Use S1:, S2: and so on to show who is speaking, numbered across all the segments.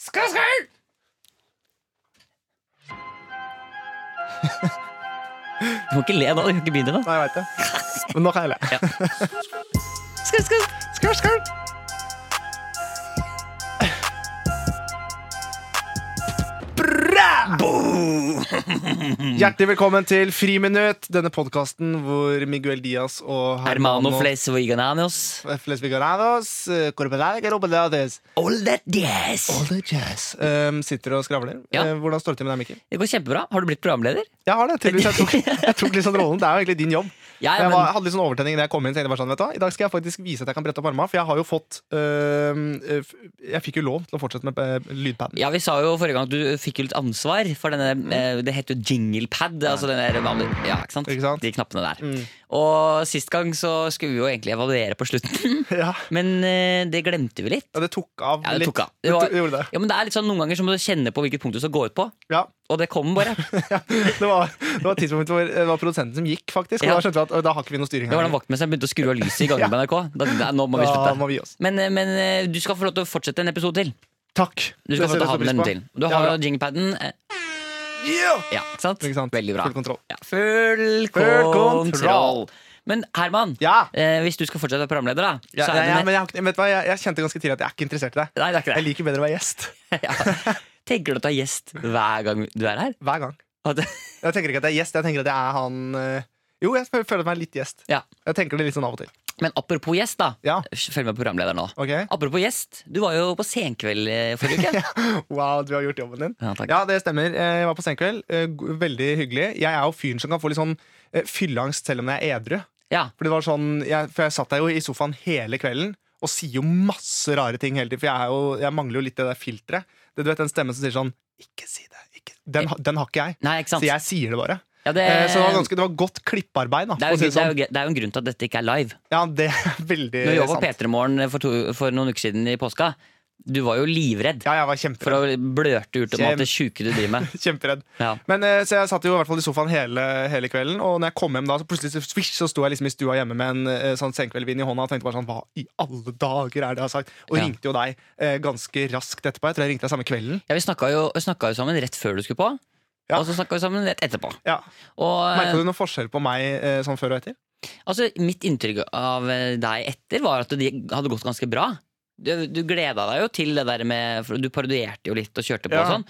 S1: Skau, skau!
S2: Du må ikke le da. Du kan ikke begynne da.
S3: Nei, jeg veit det. Men nå kan jeg le.
S1: Skau, skau! Skau, skau!
S3: Hjertelig velkommen til Friminutt, denne podkasten hvor Miguel Diaz og
S2: Hermano Fles Vigananos.
S3: Flesvig Arados, eh, Corporal Garobelates,
S2: All that yes.
S3: Older Jazz, eh, sitter og skravler.
S2: Ja.
S3: Eh, Hvordan står det til med deg, Mikkel?
S2: Det går kjempebra. Har du blitt programleder?
S3: Jeg har det, tydeligvis. Jeg tok, jeg tok litt sånn rollen. Det er jo egentlig din jobb.
S2: Ja, ja,
S3: jeg
S2: men-
S3: var, hadde litt sånn overtenning da jeg kom inn. tenkte jeg bare sånn, vet du hva, I dag skal jeg faktisk vise at jeg kan brette opp armene, for jeg har jo fått øhm, øh, Jeg fikk jo lov til å fortsette med øh, lydpaden.
S2: Ja, Vi sa jo forrige gang at du fikk jo litt ansvar for denne eh, Det heter jo jinglepad. Altså den der vanlige Ja, ikke sant?
S3: Ikke sant? Mm.
S2: De knappene der. Og sist gang så skulle vi jo egentlig evaluere på slutten,
S3: Ja.
S2: men eh, det glemte vi litt.
S3: ja, det tok av
S2: Ja, det
S3: litt.
S2: tok av.
S3: Det
S2: Det var-
S3: to- gjorde det.
S2: Ja, men det er litt sånn Noen ganger så må du kjenne på hvilket punkt du skal gå ut på,
S3: Ja.
S2: og det kom bare.
S3: Det var, det var et tidspunkt hvor øh, det var produsenten som gikk, faktisk. Og
S2: Ja.
S3: da skjønte vi at øh, da har ikke vi noe styring
S2: Det var da
S3: her.
S2: vaktmesteren begynte å skru av lyset i gangen på NRK. Da, da, nå må vi
S3: Da
S2: slutte.
S3: må vi gi oss.
S2: Men, eh, men eh, du skal få lov til å fortsette en episode til.
S3: Takk.
S2: Du
S3: Det
S2: skal få lov til
S3: setter
S2: å ha
S3: jeg
S2: med
S3: stor
S2: den
S3: pris
S2: til.
S3: på.
S2: Du har
S3: Ja,
S2: jo jinglepaden. eh,
S3: ja.
S2: Ja, ikke sant?
S3: Ikke sant?
S2: Veldig bra.
S3: Full kontroll.
S2: Ja, full
S3: Full kontroll.
S2: kontroll. Men Herman,
S3: Ja.
S2: eh, hvis du skal fortsette å være programleder, da
S3: Ja,
S2: så
S3: ja, ja,
S2: er det
S3: men jeg, har ikke- vet du hva, jeg, jeg kjente ganske tidlig at jeg er ikke interessert i deg.
S2: Nei, det
S3: Jeg
S2: er ikke det.
S3: liker bedre å være gjest.
S2: Ja. Tenker du at du er gjest hver gang du er her?
S3: Hver gang.
S2: At,
S3: Jeg tenker ikke at jeg er gjest, jeg tenker at jeg er han øh, Jo, jeg føler meg litt gjest.
S2: ja.
S3: Jeg tenker det litt sånn av og til.
S2: Men apropos gjest, da.
S3: Ja,
S2: Følg med programleder nå.
S3: ok
S2: Apropos gjest, du var jo på Senkveld eh, forrige uke.
S3: Wow, du har gjort jobben din.
S2: Ja, takk.
S3: Ja, det stemmer. Eh, Jeg var på senkveld. Eh, go- Veldig hyggelig. Jeg er jo fyren som kan få litt sånn eh, fylleangst selv om jeg er edru.
S2: Ja.
S3: For, det var sånn, jeg, for jeg satt der jo i sofaen hele kvelden og sier jo masse rare ting hele tiden. For jeg, er jo, jeg mangler jo litt det der filteret. Det, du vet den stemmen som sier sånn Ikke si det. Ikke. Den, ha- den har ikke jeg.
S2: Nei, ikke
S3: Så
S2: sant?
S3: jeg sier det bare.
S2: Ja, det,
S3: Eh, Så det var, ganske, det var godt klipparbeid. Da,
S2: det
S3: for å
S2: er, jo,
S3: si
S2: det,
S3: det,
S2: er
S3: sånn.
S2: jo, det er jo en grunn til at dette ikke er live.
S3: ja, det er veldig
S2: Når vi var på
S3: sant.
S2: P3 Morgen for, to- for noen uker siden i påska, du var jo livredd
S3: Ja, jeg var kjemperedd.
S2: for å blørte ut om alt det sjuke du driver med.
S3: Kjemperedd.
S2: Ja.
S3: Men, eh, så jeg satt jo i hvert fall i sofaen hele, hele kvelden, og når jeg kom hjem da, så plutselig så, swish, så sto jeg liksom i stua hjemme med en eh, sånn senkveldvin i hånda og tenkte bare sånn Hva i alle dager er det jeg har sagt? Og
S2: Ja.
S3: ringte jo deg eh, ganske raskt etterpå. Jeg tror jeg ringte deg samme kvelden.
S2: Ja, Vi snakka jo, snakka jo sammen rett før du skulle på,
S3: Ja.
S2: og så snakka vi sammen rett etterpå.
S3: Ja.
S2: Og eh,
S3: Merka du noen forskjell på meg eh, sånn før og etter?
S2: altså, Mitt inntrykk av eh, deg etter var at det hadde gått ganske bra. Du, du gleda deg jo til det der med for Du parodierte jo litt og kjørte på
S3: Ja.
S2: og sånn.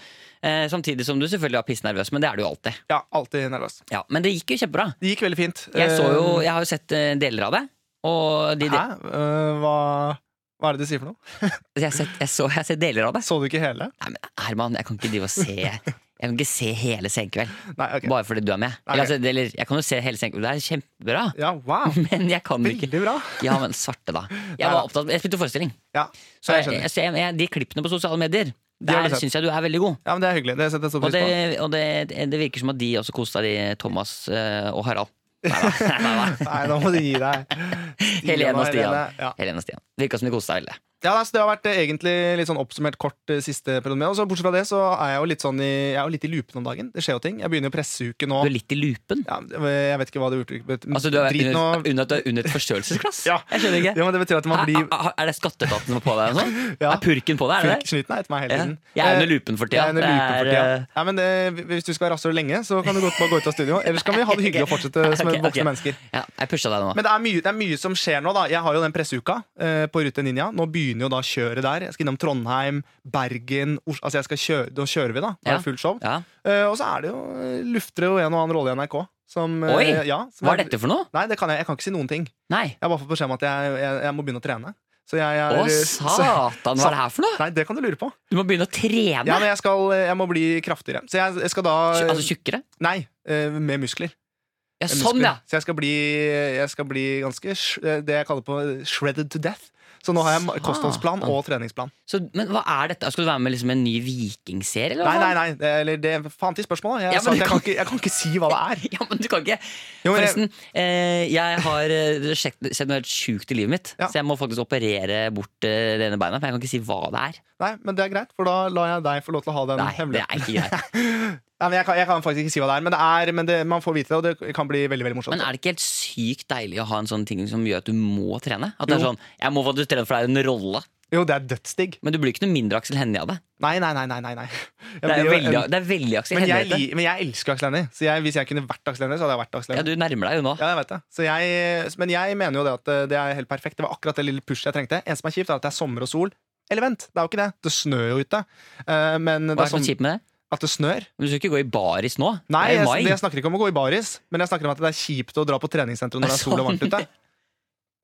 S2: Eh, samtidig som du selvfølgelig var pissnervøs, men det er du jo alltid.
S3: Ja, alltid nervøs.
S2: Ja, men det gikk jo kjempebra.
S3: Det gikk veldig fint.
S2: Jeg, så jo,
S3: Eh,
S2: jeg har jo sett eh, deler av det. Og de,
S3: Hæ? Eh, hva, hva er det du sier for noe?
S2: jeg, har sett, jeg, så, jeg har sett deler av det.
S3: Så du ikke hele?
S2: Nei, men Herman, jeg kan ikke drive og se Jeg kan ikke se hele Senkveld
S3: Nei, ok.
S2: bare fordi du er med.
S3: Nei,
S2: Eller,
S3: ok.
S2: altså, det- eller, jeg kan jo se hele Senkveld, det er kjempebra,
S3: Ja, wow.
S2: men jeg kan ikke
S3: Veldig bra.
S2: Ja, men svarte, da. Jeg
S3: Nei, da.
S2: var opptatt Jeg spilte forestilling.
S3: Ja,
S2: Så jeg,
S3: jeg skjønner.
S2: jeg, så jeg, jeg, de klippene på sosiale medier,
S3: har vi
S2: der
S3: sett.
S2: syns jeg du er veldig god.
S3: Ja, men Det er hyggelig. Det setter jeg stor
S2: Og
S3: pris
S2: det,
S3: på.
S2: og det, det virker som at de også koste seg, de Thomas eh, og Harald. Nei da.
S3: Nei, nå må du gi deg.
S2: Helene og Stian.
S3: Helene, Ja.
S2: Helene og Stian. Virka som de koste seg veldig.
S3: Ja, altså, Det har vært eh, egentlig litt sånn oppsummert kort eh, siste periode med. Og så Bortsett fra det så er jeg jo litt sånn i, jeg er jo litt i loopen om dagen. Det skjer jo ting. Jeg begynner jo presseuke nå.
S2: Du er litt i loopen.
S3: Ja, jeg vet ikke hva det uttrykket betyr.
S2: Altså, du er
S3: Drit nå.
S2: under, under, at du er under et forstørrelsesglass.
S3: Ja.
S2: Jeg skjønner ikke.
S3: Ja, men det betyr at man
S2: Er,
S3: blir
S2: er- er det skatteetaten som er på deg? og sånn?
S3: Ja.
S2: Er purken på deg? Er det det?
S3: Snyten er etter meg hele
S2: Ja.
S3: tiden.
S2: Jeg er
S3: Eh,
S2: under loopen for
S3: jeg
S2: tida.
S3: er under
S2: Det
S3: loopen for
S2: er,
S3: tida.
S2: eh,
S3: Nei, men det, Hvis du skal være rasshøl lenge, så kan du godt bare gå ut av studio. Ellers kan vi ha det hyggelig og fortsette som
S2: Ok,
S3: voksne
S2: ok.
S3: mennesker.
S2: Ja, jeg pusha deg nå.
S3: Men det er, mye, det er mye som skjer nå. da Jeg har jo den presseuka eh, på Rute Ninja. Nå begynner jo da kjøret der. Jeg skal innom Trondheim, Bergen Os Altså jeg skal kjøre, Da kjører vi, da. Da
S2: Ja.
S3: er det fullt show.
S2: Ja.
S3: Eh, og så er det jo eh, lufter det jo en og annen rolle i NRK. Som, eh,
S2: Oi!
S3: ja, som
S2: Hva er dette for noe?
S3: Nei, det kan jeg, jeg kan ikke si noen ting.
S2: Nei.
S3: Jeg har bare fått beskjed om at jeg, jeg, jeg må begynne å trene. Så jeg er
S2: Å,
S3: så-
S2: satan, hva er det her for noe?
S3: Nei, det kan du lure på.
S2: eh, Du må begynne å trene?
S3: Ja, men jeg, skal, eh, jeg må bli kraftigere. Så jeg, jeg skal da
S2: Tju- altså tjukkere?
S3: Nei, eh, med muskler.
S2: Ja,
S3: Med
S2: sånn,
S3: muskler.
S2: ja!
S3: Så jeg skal bli, jeg skal bli ganske sh- det jeg kaller på shredded to death. Så nå har jeg ma-
S2: Satan.
S3: kostholdsplan og treningsplan.
S2: Så, men hva er dette? Skal du være med liksom en ny vikingserie? Eller
S3: Nei,
S2: hva
S3: nei,
S2: faen?
S3: nei, det, eller det Faen til spørsmålet. Jeg,
S2: Ja,
S3: sa
S2: men
S3: at
S2: du
S3: jeg, kan
S2: kan-
S3: ikke, jeg kan ikke si hva det er.
S2: Ja, men du kan ikke
S3: Jo, men jeg-
S2: Forresten, eh, jeg har eh, sjekt, sett noe helt sjukt i livet mitt.
S3: Ja.
S2: Så jeg må faktisk operere bort eh, det ene beina. Men jeg kan ikke si hva det er.
S3: Nei, men det er greit, for da lar jeg deg få lov til å ha den
S2: Nei, det
S3: hemmeligheten.
S2: er ikke greit.
S3: Nei, men jeg, kan, jeg kan faktisk ikke si hva det er, men, det er, men det, man får vite det, og det kan bli veldig veldig morsomt.
S2: Men er det ikke helt sykt deilig å ha en sånn ting som gjør at du må trene? At det er
S3: Jo.
S2: sånn, Jeg må faktisk trene for det er en rolle.
S3: Jo, det er dødsdigg.
S2: Men du blir ikke noe mindre Aksel Hennie av det.
S3: Nei, nei, nei. nei, nei, nei. Jeg
S2: Det er,
S3: blir
S2: jo
S3: jo
S2: veldig,
S3: en-
S2: det er veldig Aksel
S3: men, jeg,
S2: Hennie. dette.
S3: li- men jeg elsker Aksel Hennie. Så jeg, hvis jeg kunne vært Aksel Hennie, så hadde jeg vært Aksel
S2: Ja,
S3: Hennie.
S2: du nærmer deg jo nå.
S3: Ja, jeg vet det. Så jeg, men jeg mener jo det at eh, det er helt perfekt. Det var akkurat det lille pushet jeg trengte. En som er kjipt, er at det er sommer og sol. Eller vent, det er jo ikke det. Det snør jo ute. Eh, Men det er
S2: Hva er det som
S3: som
S2: er kjipt med det?
S3: at det snør.
S2: Du skal ikke gå i baris nå.
S3: Nei,
S2: det er
S3: jeg,
S2: jo mai.
S3: jeg snakker ikke om å gå i baris, men jeg snakker om at det er kjipt å dra på treningssenteret når det er sol og varmt ute.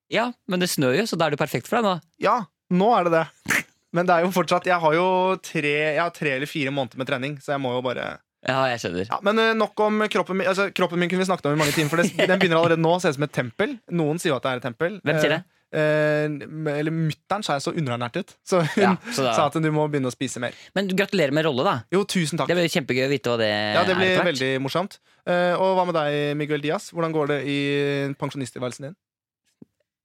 S2: Ja, men det snør jo, så da er det jo perfekt for deg nå.
S3: Ja, nå er det det. Men det er jo fortsatt Jeg har jo tre, jeg har tre eller fire måneder med trening, så jeg må jo bare
S2: Ja, jeg skjønner.
S3: Ja, Men eh, nok om kroppen min. Altså, kroppen min kunne vi snakket om i mange timer, for det, den begynner allerede nå å se ut som et tempel. Noen sier jo at det er et tempel.
S2: Hvem sier det?
S3: Eh, eh, eller mutter'n sa jeg så underernært ut, så hun
S2: Ja, så da-
S3: sa at du må begynne å spise mer.
S2: Men gratulerer med rolle, da.
S3: Jo, tusen takk.
S2: Det blir jo kjempegøy å vite hva det,
S3: ja, det
S2: er.
S3: blir
S2: etter hvert.
S3: veldig morsomt. Eh, og hva med deg, Miguel Diaz? Hvordan går det i pensjonisttilværelsen din?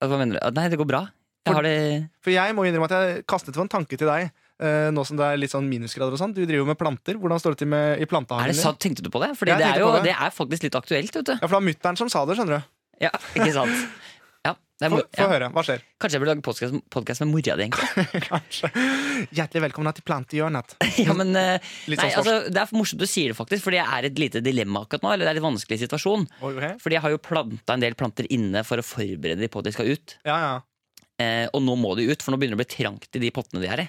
S2: Hva mener du? Nei, det går bra. Jeg
S3: For-
S2: har det
S3: For jeg må innrømme at jeg kastet på en tanke til deg. eh, nå som det er litt sånn minusgrader og sånn. Du driver jo med planter. Hvordan står det til med i
S2: Er
S3: plantehagen
S2: det sant? Tenkte du på det? Fordi
S3: Jeg
S2: det er
S3: tenkte
S2: jo
S3: på det.
S2: det er faktisk litt aktuelt, vet du.
S3: Ja, for det var mutter'n som sa det, skjønner du.
S2: Ja, ikke sant? Ja, det
S3: Få
S2: er, mo-
S3: få
S2: ja.
S3: høre. Hva skjer?
S2: Kanskje jeg burde lage podkast med mora di, egentlig.
S3: Kanskje. Hjertelig velkommen til Plantehjørnet.
S2: Ja, men, eh,
S3: Litt
S2: nei,
S3: sånn svorsk.
S2: altså, det er morsomt du sier det, faktisk, Fordi jeg er i et lite dilemma akkurat nå. Eller det er en vanskelig situasjon.
S3: Oi, ok.
S2: Fordi jeg har jo planta en del planter inne for å forberede dem på at de skal ut.
S3: Ja, ja.
S2: Eh, og nå må de ut, for nå begynner det å bli trangt i de pottene de er i.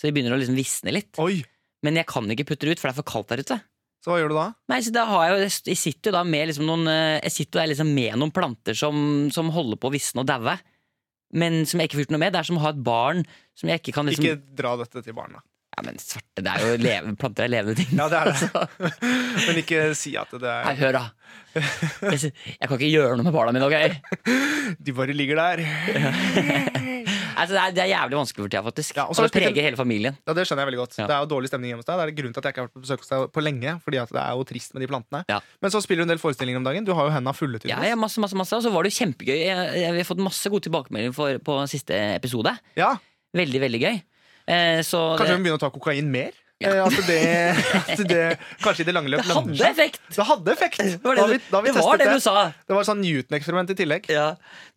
S2: Så de begynner å liksom visne litt.
S3: Oi,
S2: Men jeg kan ikke putte det ut, for det er for kaldt der ute.
S3: så hva gjør du da?
S2: Nei, så da har Jeg jo, jeg sitter jo da med liksom noen eh, Jeg sitter jo der liksom med noen planter som, som holder på å visne og daue. Men som jeg ikke får gjort noe med. Det er som å ha et barn som jeg ikke kan liksom
S3: Ikke dra dette til barna.
S2: Ja, men svarte, det er jo leve, planter er levende ting.
S3: Ja, det er det.
S2: Altså.
S3: Men ikke si at det
S2: Nei,
S3: er
S2: hør, da. Jeg, s- jeg kan ikke gjøre noe med barna mine. ok?
S3: De bare ligger der.
S2: Altså, det, er, det er jævlig vanskelig for tida, faktisk.
S3: Ja, og
S2: og
S3: så
S2: det
S3: har jeg spilt
S2: preger hele familien.
S3: Ja, Det skjønner jeg veldig godt.
S2: Ja.
S3: Det er jo dårlig stemning hjemme hos deg. Det er grunnen til at jeg ikke har vært på besøk hos deg på lenge. Fordi at det er jo trist med de plantene
S2: Ja.
S3: Men så spiller du en del forestillinger om dagen. Du har jo henda fulle.
S2: Ja,
S3: tydeligvis.
S2: ja, masse, masse, masse. Og så var det jo kjempegøy. Jeg, jeg, vi har fått masse gode tilbakemeldinger for, på siste episode.
S3: Ja,
S2: Veldig, veldig gøy. Eh, så
S3: Kanskje hun begynner å ta kokain mer? Eh, At det, at det kanskje i det lange løp
S2: det, det
S3: lønner
S2: hadde
S3: seg.
S2: effekt!
S3: Det hadde effekt!
S2: Det var det,
S3: da har vi, da har vi
S2: det,
S3: testet
S2: var det
S3: det.
S2: du sa.
S3: Det var sånn Newton-eksperiment i tillegg.
S2: Ja,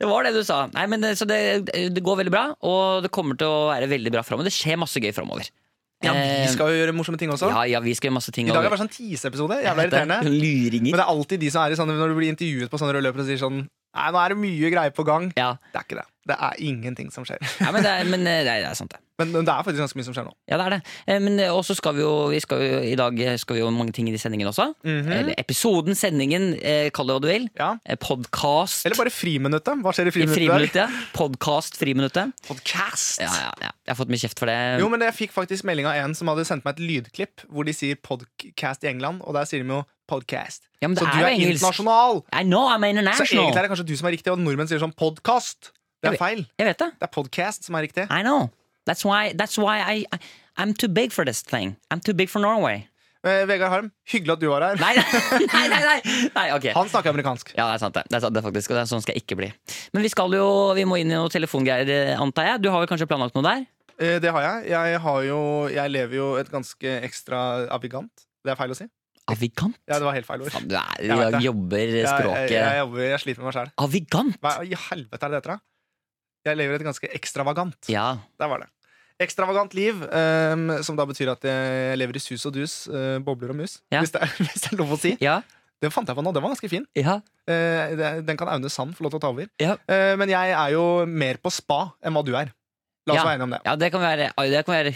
S2: det var det du sa. Nei, men, eh, så det, det går veldig bra, og det kommer til å være veldig bra framover. Det skjer masse gøy framover. Eh,
S3: Ja, Vi skal jo gjøre morsomme ting også.
S2: ja, ja, vi skal gjøre masse ting.
S3: I dag er
S2: og-
S3: det bare sånn teaseepisode. Jævla irriterende. Men
S2: Luringer.
S3: det er alltid de som er i sånne Når du blir intervjuet på sånne røde løpere og sier sånn Nei, nå er det mye greier på gang.
S2: Ja,
S3: Det er ikke det. Det er ingenting som skjer.
S2: ja men, det er, men eh, det er, det er sant, det.
S3: Men det er faktisk ganske mye som skjer nå.
S2: Ja, det er det. Eh, Men eh, også skal vi jo, vi skal jo i dag eh, skal vi jo mange ting i de sendingene også.
S3: Mm.
S2: Eller episoden, sendingen, eh, kall det hva du vil.
S3: Mhm. Ja.
S2: Eh, Podkast.
S3: Eller bare Friminuttet. Hva skjer i
S2: I
S3: friminuttet? der?
S2: friminuttet, ja. Podkast, friminuttet.
S3: Podcast!
S2: Ja, ja, ja. Jeg har fått mye kjeft for det.
S3: Jo, men jeg fikk faktisk melding av en som hadde sendt meg et lydklipp hvor de sier podcast i England, og der sier de jo podcast.
S2: Ja, men det
S3: så
S2: er
S3: du
S2: jo
S3: er
S2: engelsk.
S3: internasjonal!
S2: I know I'm
S3: Så egentlig
S2: international.
S3: er det kanskje du som er riktig, og nordmenn sier sånn podcast. Det
S2: Jeg
S3: er feil.
S2: Jeg vet det.
S3: Det er podcast som er riktig.
S2: I know. That's why, that's why I, I I'm too big for this thing. I'm too big for Norway.
S3: Eh, Vegard Harm, hyggelig at du var her.
S2: Nei, nei, nei! nei, nei ok.
S3: Han snakker amerikansk.
S2: Ja, det er sant, det. det, er sant, det faktisk, og det er sånn skal jeg ikke bli. Men vi skal jo, vi må inn i noe telefongreier, eh, antar jeg. Du har vel kanskje planlagt noe der?
S3: Eh, Det har jeg. Jeg, har jo, jeg lever jo et ganske ekstra arrogant. Det er feil å si.
S2: Avigant?
S3: Ja, det var helt feil ord.
S2: Faen, du er,
S3: Jeg vet det.
S2: jobber
S3: Jeg, jeg, jeg,
S2: språket.
S3: jobber, jeg sliter med meg sjæl.
S2: Avigant?
S3: Hva i helvete er det det heter, da? Jeg lever et ganske ekstravagant.
S2: Ja.
S3: Der var det. Ekstravagant liv, ehm, som da betyr at jeg lever i sus og dus, eh, bobler og mus.
S2: Ja.
S3: Hvis, det er, hvis det er lov å si.
S2: Ja.
S3: Det fant jeg på nå. Den var ganske fin.
S2: ja.
S3: Eh, det- den kan Aune Sand få lov til å ta over.
S2: Ja.
S3: Eh, men jeg er jo mer på spa enn hva du er. La oss
S2: Ja.
S3: være enige om det.
S2: ja det kan være, ai, det kan være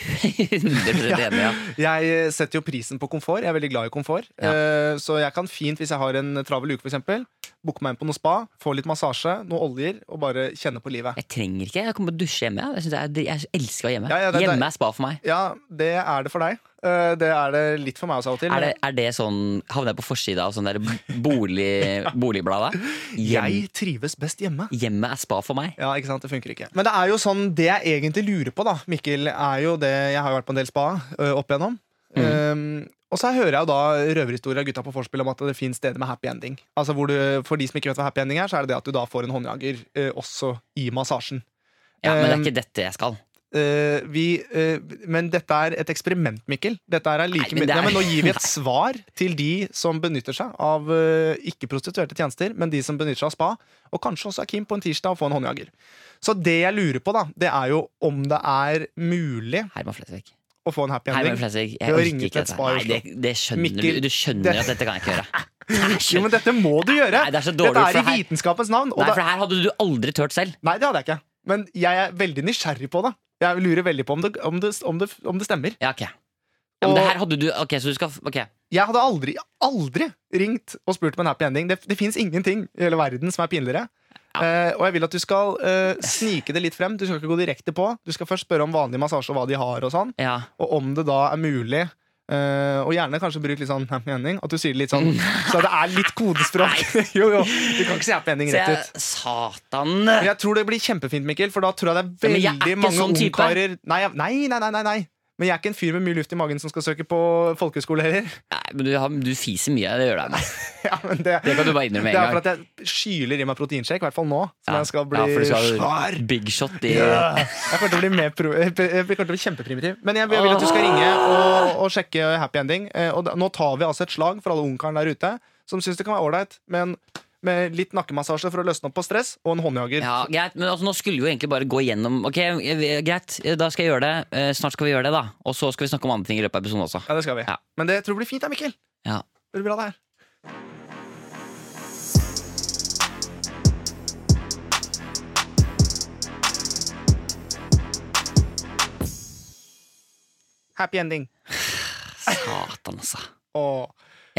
S2: 100 enig, ja.
S3: Jeg eh, setter jo prisen på komfort. Jeg er veldig glad i komfort.
S2: Ja.
S3: Eh, Så jeg kan fint, hvis jeg har en travel uke, for eksempel booke meg inn på noe spa, få litt massasje, noen oljer, og bare kjenne på livet.
S2: Jeg trenger ikke. Jeg kommer til å dusje hjemme. Jeg, synes jeg, er- jeg elsker å være hjemme.
S3: Ja, ja, det- det-
S2: hjemme er spa for meg.
S3: Ja, det er det for deg. Eh, Det er det litt for meg også av og til.
S2: Er det,
S3: men
S2: er det sånn Havner jeg på forsida av sånn der bolig, boligbladet? Hjem,
S3: Jeg trives best hjemme.
S2: hjemmet er spa for meg.
S3: Ja, ikke sant, det funker ikke Men det er jo sånn, det jeg egentlig lurer på, da, Mikkel, er jo det Jeg har jo vært på en del spa eh, opp igjennom. Eh, og så hører jeg jo da røverhistorier av gutta på vorspiel om at det finnes steder med happy ending. Altså hvor du, For de som ikke vet hva happy ending er, så er det det at du da får en håndjager eh, også øh, i massasjen.
S2: Ja, men det er
S3: Um,
S2: ikke dette jeg skal.
S3: eh, vi, eh, men dette er et eksperiment, Mikkel. Dette er like,
S2: Nei, men det
S3: Nei,
S2: er-
S3: men nå gir vi et svar til de som benytter seg av eh, ikke prostituerte tjenester, men de som benytter seg av spa, og kanskje også er keen på en tirsdag å få en håndjager. Så det jeg lurer på, da, det er jo om det er mulig
S2: Herman Flesvig.
S3: å få en happy
S2: Herman
S3: ending.
S2: Flesvig,
S3: Du
S2: jeg
S3: har
S2: orker
S3: ringt
S2: ikke
S3: et
S2: dette.
S3: spa i
S2: Nei, det, det skjønner
S3: Mikkel,
S2: du. Du skjønner jo at dette kan jeg ikke gjøre.
S3: Jo, men dette må du gjøre!
S2: Nei, det er så dårlig,
S3: dette
S2: for
S3: er i
S2: her-
S3: vitenskapens navn. Og
S2: Nei,
S3: da-
S2: for her hadde du aldri tørt selv.
S3: Nei, det hadde jeg ikke. Men jeg er veldig nysgjerrig på det. Jeg lurer veldig på om det, om det, om det, om det stemmer.
S2: Ja, ok. Ja, men
S3: Og-
S2: det her hadde du Ok, så du skal Ok.
S3: Jeg hadde aldri, aldri ringt og spurt om en happy ending. Det, det fins ingenting i hele verden som er pinligere. Eh, og jeg vil at du skal eh, snike det litt frem. Du skal ikke gå direkte på. Du skal først spørre om vanlig massasje og hva de har, og sånn.
S2: Ja.
S3: Og om det da er mulig. eh, og gjerne kanskje bruk litt sånn happy ending. At du sier det litt sånn Så det er litt kodespråk. jo, jo. Du kan ikke si happy ending
S2: Så
S3: rett
S2: jeg,
S3: ut.
S2: satan!
S3: Men Jeg tror det blir kjempefint, Mikkel, for da tror jeg det er
S2: Ja, men
S3: veldig
S2: jeg er ikke
S3: mange
S2: sånn type.
S3: ungkarer nei, jeg- nei, nei, nei, nei, nei. Men jeg er ikke en fyr med mye luft i magen som skal søke på folkehøyskole heller.
S2: Nei, men du, har- du fiser mye. Det gjør deg med.
S3: Ja, men det,
S2: Det kan du bare innrømme med
S3: Det
S2: en
S3: er
S2: gang.
S3: for at jeg skyler i meg proteinshake, i hvert fall nå. Som
S2: Ja.
S3: jeg skal bli
S2: Ja, for du skal-
S3: svær.
S2: Big shot i
S3: Ja. Jeg kommer til å bli, mer pro jeg kommer til å bli kjempeprimitiv. Men jeg, jeg vil at du skal ringe og, og sjekke happy ending. Eh, Og da, nå tar vi altså et slag for alle ungkarene der ute som syns det kan være ålreit, men med litt nakkemassasje for å løsne opp på stress, og en håndjager.
S2: Ja, greit, men altså, nå skulle vi jo egentlig bare gå gjennom Ok, eh, greit, eh, da skal jeg gjøre det. Eh, Snart skal vi gjøre det, da. Og så skal vi snakke om andre ting i løpet av episoden også.
S3: Ja, det skal vi.
S2: Ja.
S3: Men det tror jeg blir fint, da, Mikkel.
S2: Ja.
S3: Det blir bra, det her. Happy ending.
S2: Satan, altså.
S3: Åh.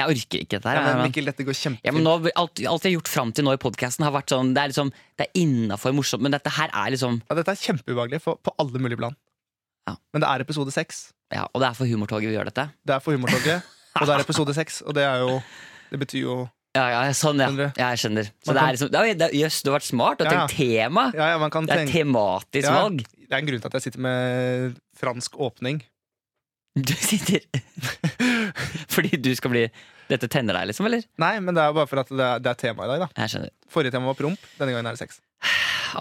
S2: Jeg orker ikke dette her.
S3: Ja, men
S2: men,
S3: Mikkel, dette går
S2: ja, men
S3: kjempefint.
S2: nå, alt, alt vi har gjort fram til nå i podkasten, har vært sånn Det er liksom Det er innafor morsomt, men dette her er liksom
S3: Ja, dette er kjempeubehagelig for- på alle mulige plan.
S2: Ja.
S3: Men det er episode seks.
S2: Ja, Og det er for humortoget vi gjør dette.
S3: Det er for humortoget, og det er episode seks. Og det er jo Det betyr jo
S2: Ja, ja, sånn, ja.
S3: Skjønner
S2: ja jeg skjønner.
S3: Man
S2: Så det
S3: kan-
S2: er liksom det er- det er- Jøss, du har vært smart og
S3: Ja, ja.
S2: tenkt tema.
S3: Ja, ja, man kan
S2: Det er et
S3: tenke
S2: tematisk
S3: Ja.
S2: valg.
S3: Det er en grunn til at jeg sitter med fransk åpning.
S2: Du sitter Fordi du skal bli Dette tenner deg, liksom, eller?
S3: Nei, men det er bare for at det er, det er tema i dag, da.
S2: Jeg skjønner.
S3: Forrige tema var promp, denne gangen er det sex.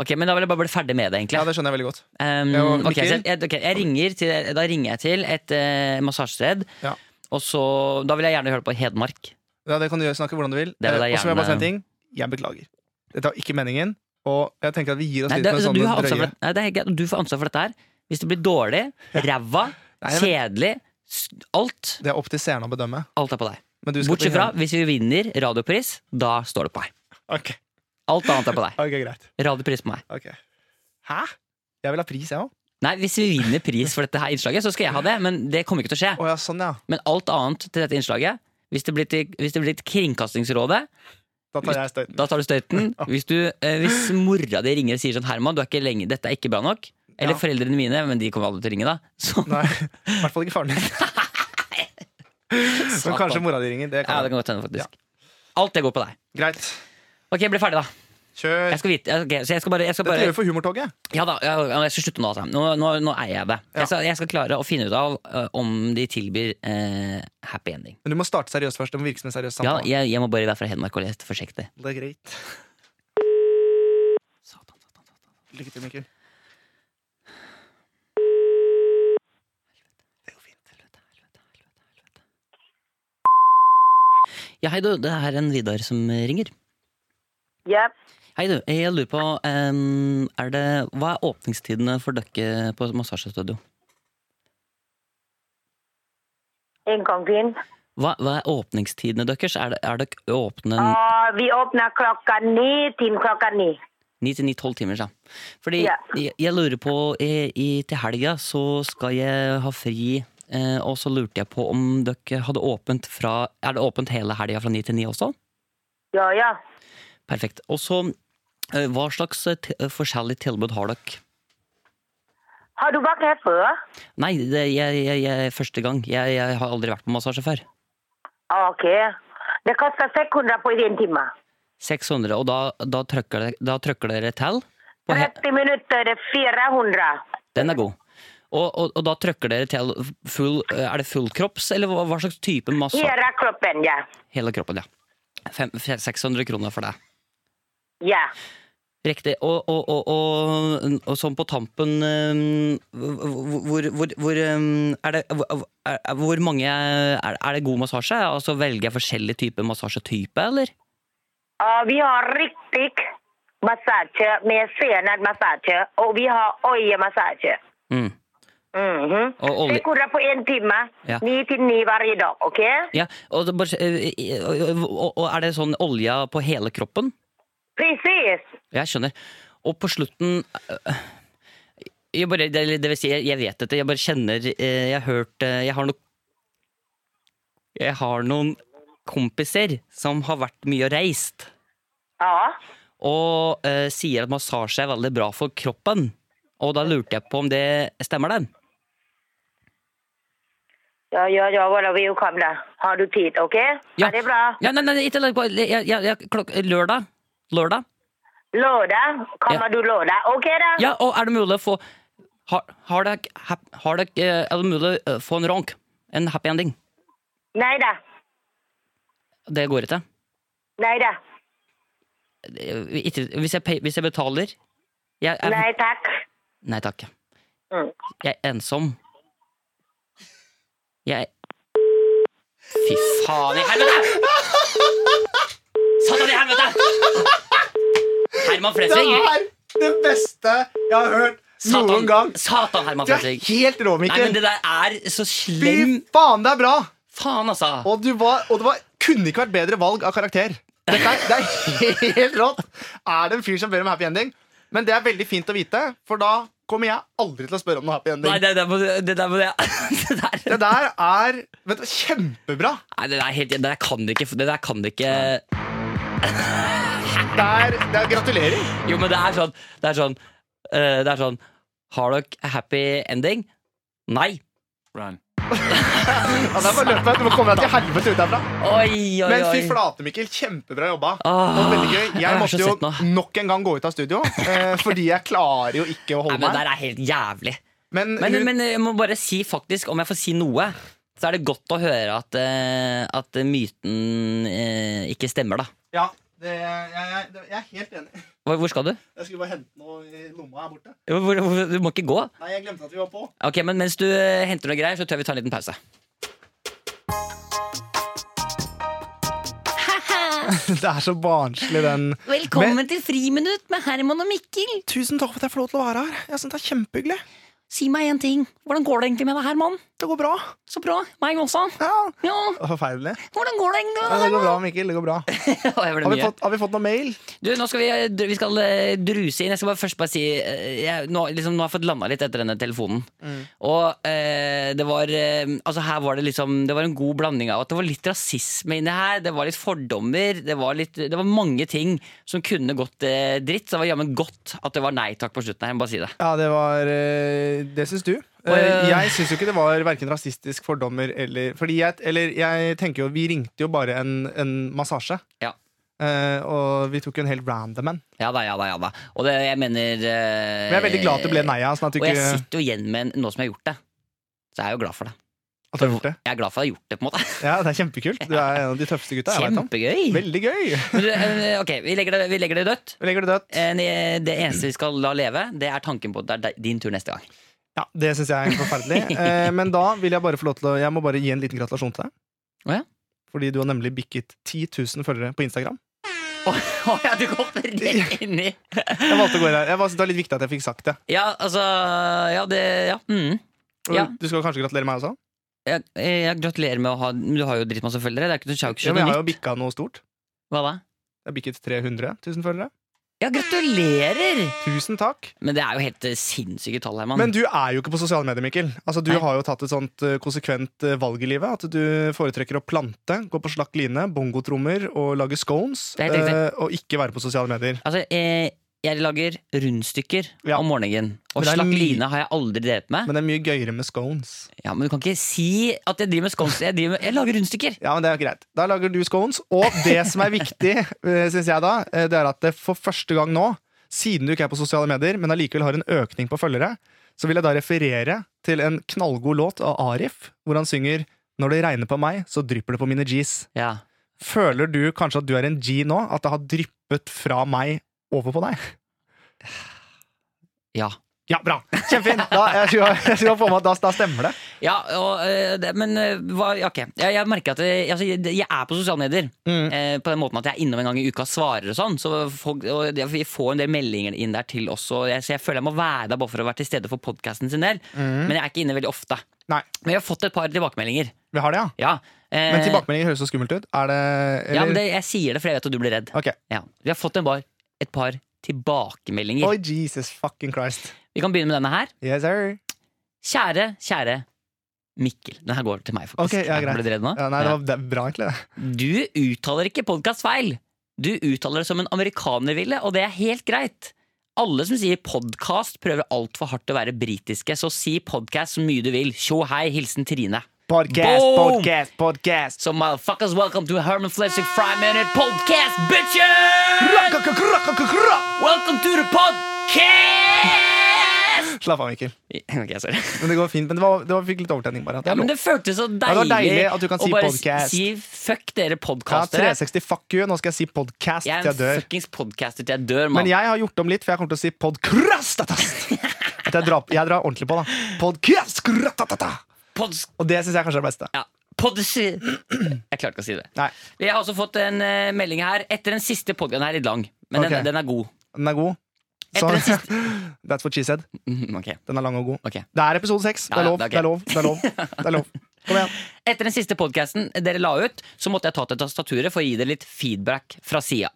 S2: Ok, Men da vil jeg bare bli ferdig med det, egentlig.
S3: Ja, det skjønner jeg veldig godt.
S2: Um,
S3: Ja, og
S2: ok, så
S3: Mikkel?
S2: jeg, ok, jeg ringer til, da ringer jeg til et uh, massasjested.
S3: Ja.
S2: Og så, Da vil jeg gjerne høre på Hedmark.
S3: Ja, det kan du gjøre, snakke hvordan du vil.
S2: Det vil jeg
S3: Eh, Og så vil jeg bare si en
S2: gjerne-
S3: ting. Jeg beklager. Dette var ikke meningen, og jeg tenker at vi gir oss
S2: Nei,
S3: litt
S2: det,
S3: med
S2: altså, du, har
S3: sånne
S2: ansvar for,
S3: drøye
S2: det- nei, det er helt greit, du får ansvar for dette her. Hvis det blir dårlig, ræva,
S3: Nei, men-
S2: kjedelig, s- alt.
S3: Det er opp til seerne å bedømme.
S2: Alt er på deg.
S3: Men du skal
S2: Bortsett
S3: bli-
S2: fra hvis vi vinner radiopris, da står det på deg.
S3: Ok,
S2: Alt annet er på deg.
S3: ok, greit.
S2: Radiopris på meg.
S3: Ok. Hæ? Jeg vil ha pris, jeg òg.
S2: Nei, hvis vi vinner pris for dette her innslaget, så skal jeg ha det. Men det kommer ikke til å skje.
S3: Å ja, sånn, ja.
S2: Men alt annet til dette innslaget, hvis det blir til, hvis det blir til Kringkastingsrådet,
S3: Da tar jeg støyten.
S2: Da tar du støyten. Hvis, du, eh, hvis mora di ringer og sier sånn Herman, du er ikke lenge, dette er ikke bra nok. Eller
S3: Ja.
S2: foreldrene mine, men de kommer aldri til å ringe, da. Så,
S3: Nei, i hvert fall ikke faren din. Men kanskje mora di ringer. Det
S2: ja,
S3: kan
S2: det
S3: jeg.
S2: kan godt hende, faktisk. Alt det går på deg.
S3: Greit.
S2: Ok, bli ferdig, da.
S3: Kjør.
S2: Jeg skal vite, ok, så jeg skal bare, jeg skal
S3: Dette
S2: bare
S3: gjør vi for humortoget.
S2: Ja da, ja, ja, jeg skal slutte nå, altså. Nå, nå, nå eier jeg det.
S3: Ja.
S2: Jeg, skal, jeg skal klare å finne ut av eh, om de tilbyr eh, happy ending.
S3: Men du må starte seriøst først. Det må virke som en seriøs
S2: Ja,
S3: samtale.
S2: jeg, jeg må bare være fra Hedmark og lese forsiktig.
S3: Det er greit.
S2: Satan, satan, satan.
S3: Lykke til, Mikkel.
S2: Det går fint. Helvete, helvete, helvete, helvete. Ja, hei du, det er en Vidar som ringer.
S4: Jepp.
S2: Hei du, jeg lurer på, em, er det, hva er åpningstidene for dere på massasjestudio?
S4: En gang til.
S2: Hva, hva er åpningstidene deres? Er, det, er dere åpne
S4: Ah, vi åpner klokka ni til klokka ni.
S2: 9 til 9-12 timer? Ja. Fordi
S4: Ja.
S2: jeg, jeg lurer på, i, i, til helga så skal jeg ha fri, eh, og så lurte jeg på om dere hadde åpent fra, er det åpent hele helga fra 9 til 9 også?
S4: Ja, ja.
S2: Perfekt. Og så, eh, hva slags eh, te- eh, forskjellig tilbud har dere?
S4: Har du vært her før?
S2: Nei, det, jeg, jeg, jeg, første gang. Jeg, jeg har aldri vært på massasje før.
S4: Ok. Det koster 600 på en time.
S2: 600, og da, da, trykker, dere- da trykker dere til. På he
S4: 30 minutter er 400.
S2: Den er god. Og, og, og da trykker dere til full eh, Er det fullkropps, eller hva, hva slags type massasje?
S4: Hele kroppen, ja.
S2: Hele kroppen, ja. Fem, 600 kroner for det.
S4: Ja.
S2: Riktig. Og, og, og, og, og sånn på tampen eh, hvor, hvor, hvor, hvor eh, er det, hvor- er, hvor mange er, er det god massasje? Altså Velger jeg forskjellig type massasjetype, eller?
S4: Ja, vi har riktig massasje med senad massasje, og vi har øyemassasje.
S2: Mm.
S4: Mhm.
S2: Og olje-
S4: Stikk ordet på én time.
S2: Ja.
S4: Ni til ni hver dag, OK?
S2: Ja, og, det bare, eh, eh, og, og er det sånn olja på hele kroppen?
S4: Presis.
S2: Jeg skjønner. Og på slutten øh, jeg bare, det, det vil si, jeg, jeg vet dette. Jeg bare kjenner eh, Jeg har hørt eh, Jeg har noen Jeg har noen kompiser som har vært mye og reist,
S4: Ja.
S2: og eh, sier at massasje er veldig bra for kroppen. Og da lurte jeg på om det stemmer, den.
S4: Ja, ja, ja, voilà, velkommen. Har du tid, OK?
S2: Ja.
S4: Er det bra?
S2: Ja, nei, nei, nei, ikke, lørdag. jeg, jeg, jeg, klok, lørdag? Lørdag?
S4: Lørdag? Kommer du lørdag? OK, da?
S2: Ja, og er det mulig å få Har, har dere hap- har dere, eh, Er det mulig å få en ronk? En happy ending?
S4: Nei da.
S2: Det går ikke.
S4: Nei da.
S2: Eh, ikke hvis, jeg, pay- hvis jeg betaler jeg er,
S4: Nei takk.
S2: Nei takk.
S4: Mm.
S2: Jeg er ensom. Jeg Fy faen i helvete! Satan i helvete! Herman
S3: Det
S2: Flesvig!
S3: er det beste jeg har hørt noen gang.
S2: Satan, satan Herman
S3: Du er
S2: Flesvig.
S3: helt rå,
S2: Nei, men
S3: Mikkel.
S2: det der er så
S3: Fy
S2: slem
S3: faen, det er bra!
S2: Faen, altså!
S3: Og, du var, og det var, kunne ikke vært bedre valg av karakter. Dette er, det er helt rått! Er det en fyr som ber om happy ending? Men det er veldig fint å vite, for da kommer jeg aldri til å spørre om noe happy ending.
S2: Nei, det, det, må- det der må jeg det der,
S3: Det der er vet du, kjempebra.
S2: Nei, det der, helt, det der kan det ikke Det der kan det ikke
S3: Det er, det er Gratulerer.
S2: Jo, men det er sånn Det er sånn, eh, det er sånn Har dere happy ending? Nei
S5: Run.
S3: Ja, Altså, det er bare å løpe. Du må komme deg til helvete ut herfra.
S2: Oi, oi,
S3: Men fy
S2: oi
S3: flate, Mikkel. Kjempebra jobba.
S2: Åh,
S3: Og veldig gøy.
S2: jeg er
S3: Jeg
S2: så
S3: måtte jo
S2: svett nå.
S3: nok en gang gå ut av studio, eh, fordi jeg klarer jo ikke å
S2: Nei,
S3: holde
S2: men det
S3: meg.
S2: der er helt jævlig
S3: Men,
S2: men,
S3: hun,
S2: men jeg må bare si faktisk Om jeg får si noe Så er det godt å høre at, eh, at myten eh, ikke stemmer da
S3: ja, det, jeg, jeg, det- jeg er helt enig.
S2: Hvor, hvor skal du?
S3: Jeg skulle bare hente noe i lomma her borte.
S2: Hvor, hvor, du må ikke gå
S3: Nei, jeg glemte at vi var på.
S2: Ok, men mens du eh, henter noe greier, så tør vi ta en liten pause.
S3: Det er så barnslig, den.
S2: Velkommen
S3: Men-
S2: til Friminutt med Herman og Mikkel.
S3: Tusen takk for at jeg får lov til å være her. Jeg synes Det er kjempehyggelig.
S2: Si meg en ting. Hvordan går det egentlig med deg, Herman?
S3: Det går bra.
S2: Så bra. Meg også.
S3: Ja.
S2: Ja,
S3: Forferdelig.
S2: hvordan går det egentlig
S3: Ja, det
S2: med
S3: går bra, Mikkel. Det går bra.
S2: deg? Å, jeg
S3: Har
S2: ble
S3: vi
S2: mye.
S3: fått, har vi fått noe mail?
S2: Du, nå skal vi, eh, dr- vi skal eh, druse inn. Jeg skal bare først bare si eh, jeg, nå, liksom, nå har jeg fått landa litt etter denne telefonen.
S3: Mm.
S2: Og eh, det var eh, Altså her var det liksom Det var en god blanding av at det var litt rasisme inni her. Det var litt fordommer. Det var, litt, det var mange ting som kunne gått eh, dritt. Så det var jammen godt at det var nei takk på slutten. her, Jeg må bare si det.
S3: Ja, det var eh, Det syns du. Eh,
S2: eh,
S3: Jeg syns jo ikke det var verken rasistisk fordommer eller Fordi jeg, eller jeg tenker jo Vi ringte jo bare en, en massasje.
S2: Ja.
S3: Eh, og vi tok jo en helt random en.
S2: Ja da, ja da, ja da. Og det, jeg mener eh,
S3: Men jeg er veldig glad at det ble nei. ja, Sånn at du
S2: Og
S3: ikke
S2: jeg sitter jo igjen med en, nå som jeg har gjort det. Så jeg er jo glad for det.
S3: at du har gjort det.
S2: Jeg er glad for at jeg har gjort det, på en måte.
S3: Ja, det er kjempekult. Du er en av de tøffeste gutta jeg vet om.
S2: Kjempegøy!
S3: Veldig gøy!
S2: Men, eh, ok, vi legger det, vi legger det dødt.
S3: Vi legger det dødt.
S2: Eh, Det eneste vi skal la leve, det er tanken på at det er din tur neste gang.
S3: Ja, Det syns jeg er forferdelig. Eh, men da vil jeg bare få lov til å Jeg må bare gi en liten gratulasjon til deg.
S2: Å ja.
S3: Fordi du har nemlig bikket 10 000 følgere på Instagram.
S2: Å ja, du kom rett inn i
S3: Jeg valgte å gå i der. Jeg var, det var litt viktig at jeg fikk sagt det.
S2: Ja, altså Ja, det Ja. Mm.
S3: Og
S2: Ja.
S3: Du skal kanskje gratulere meg også?
S2: Jeg, jeg gratulerer med å ha Du har jo drittmasse følgere. Det er ikke, du har jo
S3: Ja,
S2: ikke
S3: men jeg
S2: noe
S3: har
S2: nytt.
S3: jo bikka noe stort.
S2: Hva da?
S3: Jeg har bikket 300 000 følgere.
S2: Ja, gratulerer!
S3: Tusen takk.
S2: Men det er jo helt eh, sinnssyke tall, Herman.
S3: Men du er jo ikke på sosiale medier, Mikkel. Altså, du
S2: Nei.
S3: har jo tatt et sånt eh, konsekvent eh, valg i livet. At du foretrekker å plante, gå på slakk line, bongotrommer og lage scones.
S2: Det er helt riktig.
S3: eh, og ikke være på sosiale medier.
S2: Altså, eh, jeg lager rundstykker
S3: Ja.
S2: om morgenen. Og
S3: Men det er
S2: slakk
S3: mye-
S2: line har jeg aldri drevet med. Men,
S3: Men det er mye gøyere med scones.
S2: ja, men du kan ikke si at jeg driver med scones. Jeg, driver med, jeg lager rundstykker!
S3: Ja, men det er greit. Da lager du scones. Og det som er viktig, syns jeg da, eh, det er at det for første gang nå, siden du ikke er på sosiale medier, men allikevel har en økning på følgere, så vil jeg da referere til en knallgod låt av Arif, hvor han synger når det regner på meg, så drypper det på mine G's.
S2: Ja.
S3: Føler du kanskje at du er en G nå? At det har dryppet fra meg over på deg?
S2: Ja.
S3: Ja, bra! Kjempefint! Da, jeg tror, jeg tror jeg får med at da, da stemmer det.
S2: ja og, eh, det, men eh, hva, ja, ok. jeg, jeg merker at jeg, altså, jeg, jeg er på sosiale medier. Eh, på den måten at jeg er innom en gang i uka og svarer og sånn. Så folk, og det- vi får en del meldinger inn der til oss. Og jeg, så jeg føler jeg må være der bare for å være til stede for podkasten sin del. Men jeg er ikke inne veldig ofte.
S3: Mm. Nei,
S2: Men jeg har fått et par tilbakemeldinger.
S3: vi har det, ja.
S2: Ja. Eh,
S3: Men tilbakemeldinger høres så skummelt ut. Er det
S2: ja, men
S3: eller-
S2: det, jeg sier det, for jeg vet at du blir redd.
S3: Ok.
S2: Ja. Vi har fått en bar, et par tilbakemeldinger.
S3: Oi, Jesus fucking Christ.
S2: Vi kan begynne med denne her.
S3: Yes, sir.
S2: Kjære, kjære Mikkel. Den her går til meg, faktisk.
S3: Ok, ja,
S2: Jeg
S3: greit.
S2: Ble du redd nå?
S3: Ja, nei, det var det er bra, egentlig. det.
S2: Du uttaler ikke podkast feil. Du uttaler det som en amerikaner ville, og det er helt greit. Alle som sier podkast, prøver altfor hardt å være britiske, så si podkast så mye du vil. Tjo hei, hilsen Trine.
S3: Podcast,
S2: Boom!
S3: podcast, podcast.
S2: So motherfuckers, welcome to Herman Flesvig Five Minute Podcast, bitches! Welcome to the podcast!
S3: Slapp av, Mikkel.
S2: Ok, sorry.
S3: Men det går fint. Men det var, det var, fikk litt overtenning, bare. at
S2: Ja,
S3: er
S2: men
S3: lov.
S2: det føltes så
S3: det var
S2: deilig,
S3: deilig at du kan si
S2: å bare
S3: podcast.
S2: si fuck dere
S3: ja,
S2: podkastere.
S3: 360, fuck you. Nå skal jeg si podcast
S2: jeg
S3: til
S2: er
S3: jeg
S2: en
S3: dør.
S2: fuckings podcaster til jeg dør, mann.
S3: Men jeg har gjort om litt, for jeg kommer til å si podcast. At jeg drar, jeg drar ordentlig på, da. Podcast. kratatata.
S2: Pods-
S3: Og det syns jeg kanskje er det beste.
S2: ja. Podsi... Jeg klarte ikke å si det.
S3: Nei,
S2: Vi har også fått en eh, melding her etter den siste podkasten her i lang, men
S3: Ok.
S2: den, den er god.
S3: den er god.
S2: Etter
S3: Så,
S2: den
S3: that's what she said.
S2: Mhm, ok,
S3: Den er lang og god.
S2: ok.
S3: Det er episode seks. Det
S2: Ja,
S3: er
S2: ja,
S3: lov. Det
S2: det
S3: er
S2: er ok.
S3: lov. Det er lov. Det er lov. Kom igjen.
S2: Etter den siste podkasten dere la ut, så måtte jeg ta til tastaturet for å gi dere litt feedback fra sida.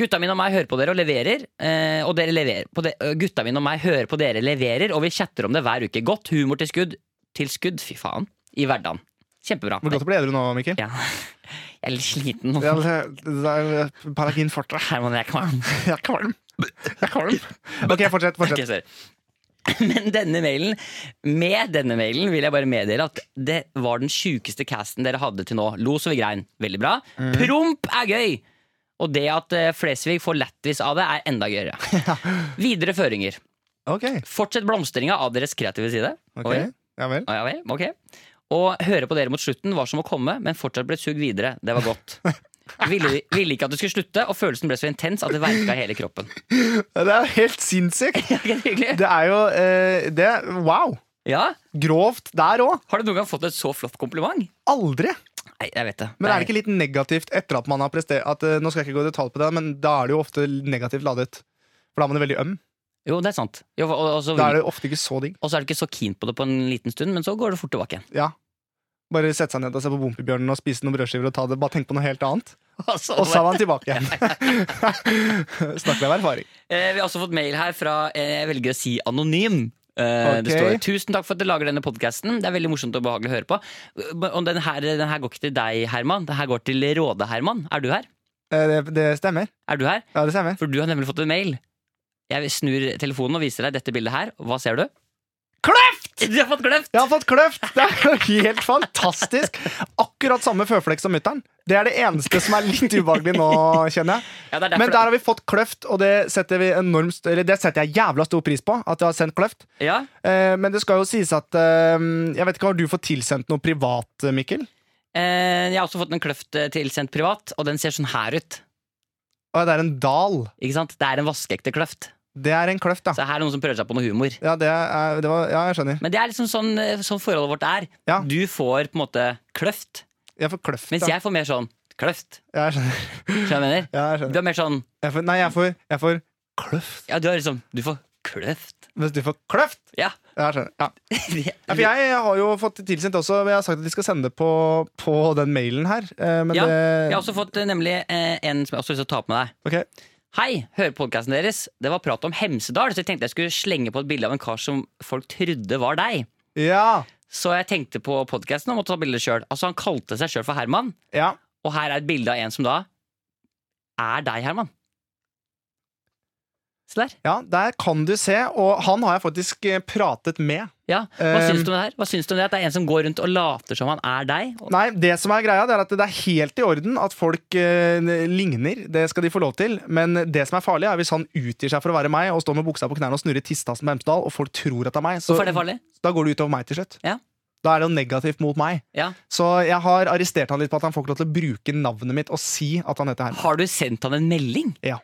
S2: Gutta mine og meg hører på dere og leverer. eh, og dere leverer på de, øh, gutta mine og meg hører på dere leverer, og vi chatter om det hver uke. Godt humor til skudd. Til skudd, fy faen. I hverdagen. Kjempebra.
S3: Det var godt å bli edru nå, Mikkel.
S2: Ja. Jeg er litt sliten nå.
S3: Ja, det- det er Paragin fortere.
S2: Herman, jeg er kvalm.
S3: Jeg er kvalm. Jeg er kvalm. Ok, fortsett.
S2: Ok,
S3: fortsett.
S2: sorry. Men denne mailen, med denne mailen vil jeg bare meddele at det var den sjukeste casten dere hadde til nå. Los over grein. Veldig bra. Promp er gøy! Og det at eh, Flesvig får lættis av det, er enda gøyere. Videre føringer.
S3: Ok,
S2: Fortsett blomstringa av deres kreative side. Oi.
S3: ok. Ja vel.
S2: Ja vel, ok Og høre på dere mot slutten var som å komme, men fortsatt ble sugd videre. Det var godt. Ville, ville ikke at du skulle slutte, og følelsen ble så intens at det verka i hele kroppen.
S3: Det er jo helt sinnssykt.
S2: Er ikke det hyggelig?
S3: Det er jo eh, det, Wow!
S2: Ja,
S3: Grovt der òg.
S2: Har du noen gang fått et så flott kompliment?
S3: Aldri.
S2: Nei, jeg vet det.
S3: Men er det ikke litt negativt etter at man har prestert at, eh, Nå skal jeg ikke gå i detalj på det, men da er det jo ofte negativt ladet. For da er man veldig øm.
S2: Jo, det er sant. Jo, og, og, så,
S3: Da er det ofte ikke så digg.
S2: og så er du ikke så keen på det på en liten stund, men så går det fort tilbake igjen.
S3: Ja. Bare sette seg ned og se på Bompibjørnen og spise noen brødskiver og ta det. Bare tenk på noe helt annet.
S2: Altså,
S3: Og så er man tilbake igjen. Snakker med erfaring.
S2: eh, vi har også fått mail her fra eh, Jeg velger å si anonym. Eh, Det står
S3: Ok.
S2: 'Tusen takk for at dere lager denne podkasten'. Det er veldig morsomt og behagelig å høre på. Og den her, den her går ikke til deg, Herman. Den her går til Råde-Herman. Er du her?
S3: Eh, Det, det stemmer.
S2: Er du her?
S3: Ja, det stemmer.
S2: For du har nemlig fått en mail. Jeg snur telefonen og viser deg dette bildet her. Hva ser du? Kløft! Du har fått kløft!
S3: Jeg har fått kløft! Det er jo helt fantastisk. Akkurat samme føflekk som mutter'n. Det er det eneste som er litt ubehagelig nå, kjenner jeg.
S2: Ja, det er derfor
S3: Men der har vi fått kløft, og det setter, vi enormt, st- eller det setter jeg jævla stor pris på. At jeg har sendt kløft
S2: ja.
S3: eh, Men det skal jo sies at eh, Jeg vet ikke, Har du fått tilsendt noe privat, Mikkel?
S2: Eh, Jeg har også fått en kløft eh, tilsendt privat, og den ser sånn her ut.
S3: Å, det er en dal.
S2: Ikke sant? Det er en vaskeekte kløft.
S3: Det er en kløft,
S2: Så
S3: da.
S2: her er noen som prøver seg på noe humor.
S3: Ja, det er, eh, det var, ja jeg skjønner.
S2: Men det er liksom sånn, eh, sånn forholdet vårt er.
S3: Ja.
S2: Du får på en måte kløft,
S3: Jeg får kløft.
S2: mens
S3: da.
S2: jeg får mer sånn kløft.
S3: Ja, jeg skjønner.
S2: Skjønner du hva jeg
S3: Ja, jeg
S2: mener?
S3: skjønner.
S2: Du er mer sånn
S3: Jeg får, nei, jeg får, jeg får kløft.
S2: Ja, du er liksom Du får kløft.
S3: Mens du får kløft!
S2: Ja.
S3: Ja, Jeg skjønner. Ja.
S2: Det-
S3: Ja, for jeg har jo fått tilsendt også, men jeg har sagt at de skal sende det på, på den mailen her. eh, Men
S2: ja.
S3: det
S2: Jeg har også fått eh, nemlig eh, en som jeg også har lyst til å ta opp med deg.
S3: Ok.
S2: Hei, hører podkasten deres. Det var prat om Hemsedal, så jeg tenkte jeg skulle slenge på et bilde av en kar som folk trodde var deg.
S3: Ja.
S2: Så jeg tenkte på podkasten om å ta bilde sjøl. Altså, han kalte seg sjøl for Herman.
S3: ja.
S2: Og her er et bilde av en som da er deg, Herman. Se der.
S3: Ja, der kan du se, og han har jeg faktisk eh, pratet med.
S2: Ja. Hva
S3: Um,
S2: syns du om det her? Hva syns du om det At det er en som går rundt og later som han er deg? Og-
S3: Nei, det som er greia, det er at det er helt i orden at folk eh, ligner, det skal de få lov til, men det som er farlig, er hvis han utgir seg for å være meg og står med buksa på knærne og snurrer tistassen på Hemsedal, og folk tror at det er meg, så
S2: Hvorfor er det farlig?
S3: da går det utover meg til slutt.
S2: Ja.
S3: Da er det jo negativt mot meg.
S2: Ja.
S3: Så jeg har arrestert han litt på at han får ikke lov til å bruke navnet mitt og si at han heter Herman.
S2: Har du sendt han en melding?
S3: Ja.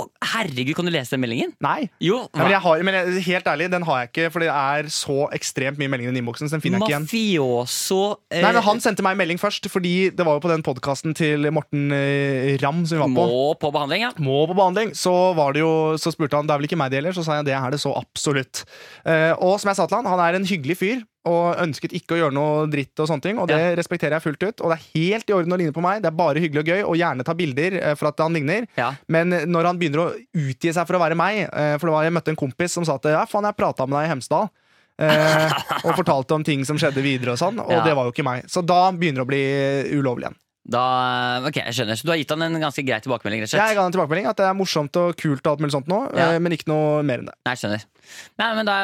S2: Å, Herregud, kan du lese den meldingen?
S3: Nei.
S2: Jo,
S3: Nei, men, jeg har, men jeg, helt ærlig, den har jeg ikke, for det er så ekstremt mye meldinger i den innboksen. Så den finner jeg ikke igjen.
S2: mafioso eh,
S3: Nei, men Han sendte meg en melding først, fordi det var jo på den podkasten til Morten eh, Ramm som vi var på.
S2: må på behandling, ja.
S3: må på behandling, så, var det jo, så spurte han det er vel ikke meg det gjelder. Så sa jeg det er det så absolutt. Eh, og som jeg sa til han, han er en hyggelig fyr og ønsket ikke å gjøre noe dritt. Og sånne ting, og det respekterer jeg fullt ut. Og det er helt i orden å ligne på meg. Det er bare hyggelig og gøy, og gjerne ta bilder eh, for at han ligner.
S2: Ja.
S3: Men eh, når han begynner å utgi seg for å være meg eh, For det var jeg møtte en kompis som sa at ja, faen, jeg prata med deg i Hemsedal. Eh, og fortalte om ting som skjedde videre, og sånn. Og
S2: Ja.
S3: det var jo ikke meg. Så da begynner det å bli eh, ulovlig igjen.
S2: Da, ok, jeg skjønner. Så du har gitt han en ganske grei tilbakemelding, rett og slett?
S3: Jeg ga en tilbakemelding at det er morsomt og kult, og alt mulig sånt nå,
S2: Ja.
S3: eh, men ikke noe mer enn det.
S2: Nei, jeg skjønner. Nei, men da,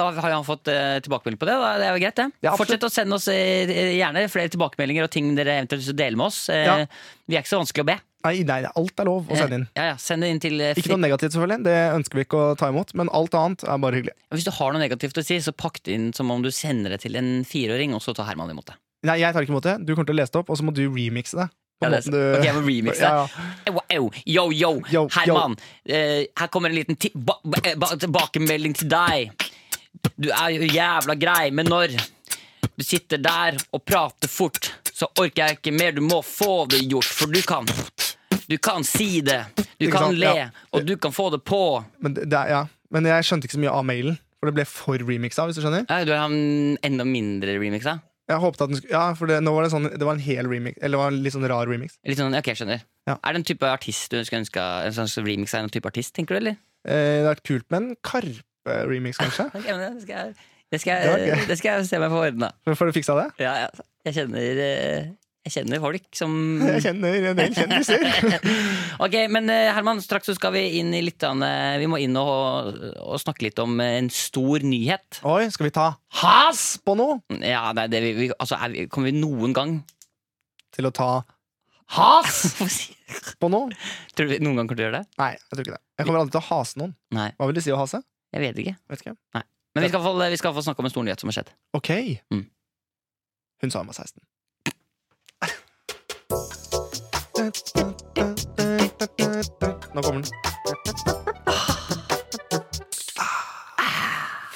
S2: da har jo han fått eh, tilbakemelding på det. Da, det er jo greit, det.
S3: Ja, absolutt.
S2: Fortsett å sende oss eh, gjerne flere tilbakemeldinger og ting dere eventuelt vil dele med oss. Eh,
S3: Ja.
S2: Vi er ikke så vanskelig å be.
S3: Nei, nei, alt er lov å sende inn.
S2: Eh, Ja, ja, send det inn til eh,
S3: Ikke noe negativt, selvfølgelig. Det ønsker vi ikke å ta imot, men alt annet er bare hyggelig.
S2: Hvis du har noe negativt å si, så pakk det inn som om du sender det til en fireåring, og så tar Herman imot det.
S3: Nei, jeg tar ikke imot det. Du kommer til å lese det opp, og så må du remixe det. På
S2: Ja, det
S3: måten
S2: er så-
S3: du-
S2: Ok, jeg må remixe det.
S3: Ja, ja.
S2: Au, au, yo, yo,
S3: Yo,
S2: Herman. eh, her kommer en liten ti ba ba eh, ba tilbakemelding til deg. Du er jo jævla grei, men når du sitter der og prater fort, så orker jeg ikke mer. Du må få det gjort, for du kan. Du kan si det. Du
S3: Ikke
S2: kan
S3: sant?
S2: le,
S3: Ja.
S2: og du kan få det på.
S3: Men, det, det er, ja. men jeg skjønte ikke så mye av mailen, for det ble for remixa, hvis du skjønner.
S2: Ja, du har en enda mindre remix, da?
S3: Jeg håpet at den skulle Ja, for det, nå var det sånn Det var en hel remix, eller det var en litt sånn rar remix.
S2: Litt sånn, ok, jeg skjønner
S3: Ja.
S2: Er det en type artist du skulle ønske En sånn som remix er en type artist, tenker du, eller?
S3: Eh, det hadde vært kult med en Karpe-remix, kanskje.
S2: Ok, men det skal jeg, det skal jeg,
S3: Det var gøy.
S2: det skal jeg se meg for ordene
S3: Får du fiksa det?
S2: ja, ja, jeg kjenner eh, Jeg kjenner folk som
S3: Jeg kjenner en del kjendiser.
S2: Ok, men eh, Herman, straks så skal vi inn i litt annet- Vi må inn og, og snakke litt om eh, en stor nyhet
S3: Oi, skal vi ta has på noe?
S2: Ja, nei, det vi, vi, altså, er, vi- kommer vi noen gang
S3: Til å ta
S2: Has! Tror
S3: på noe?
S2: du vi noen gang kommer til å gjøre det?
S3: Nei, jeg tror ikke det. Jeg kommer aldri til å hase noen.
S2: Nei,
S3: Hva vil det si å hase?
S2: jeg vet ikke
S3: Vet ikke.
S2: Men vi skal, i hvert fall- vi skal i hvert fall snakke om en stor nyhet som har skjedd
S3: Ok.
S2: Mm.
S3: Hun sa hun var 16. Nå kommer den.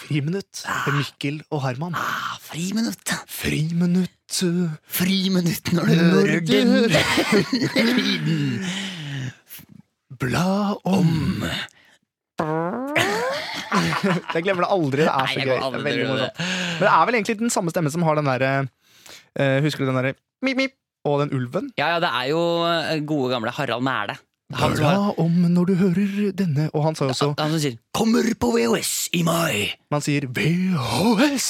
S3: Friminutt med Mikkel og Herman.
S2: ah, Friminutt
S3: Friminutt
S2: Friminutt når
S3: Hører
S2: den
S3: du? Bla om Jeg glemmer det aldri. Det er
S2: Nei,
S3: så
S2: jeg
S3: gøy.
S2: går aldri
S3: Det er veldig morsomt. Men
S2: til å gjøre
S3: det er vel egentlig den samme stemmen som har den derre eh, Husker du den derre mip, mip, og den ulven?
S2: Ja, ja, det er jo eh, gode gamle Harald Mæle. Han som, har,
S3: Bla om når du hører denne Og han sa jo også
S2: han som sier 'Kommer på VHS i mai'.
S3: Man sier VHS!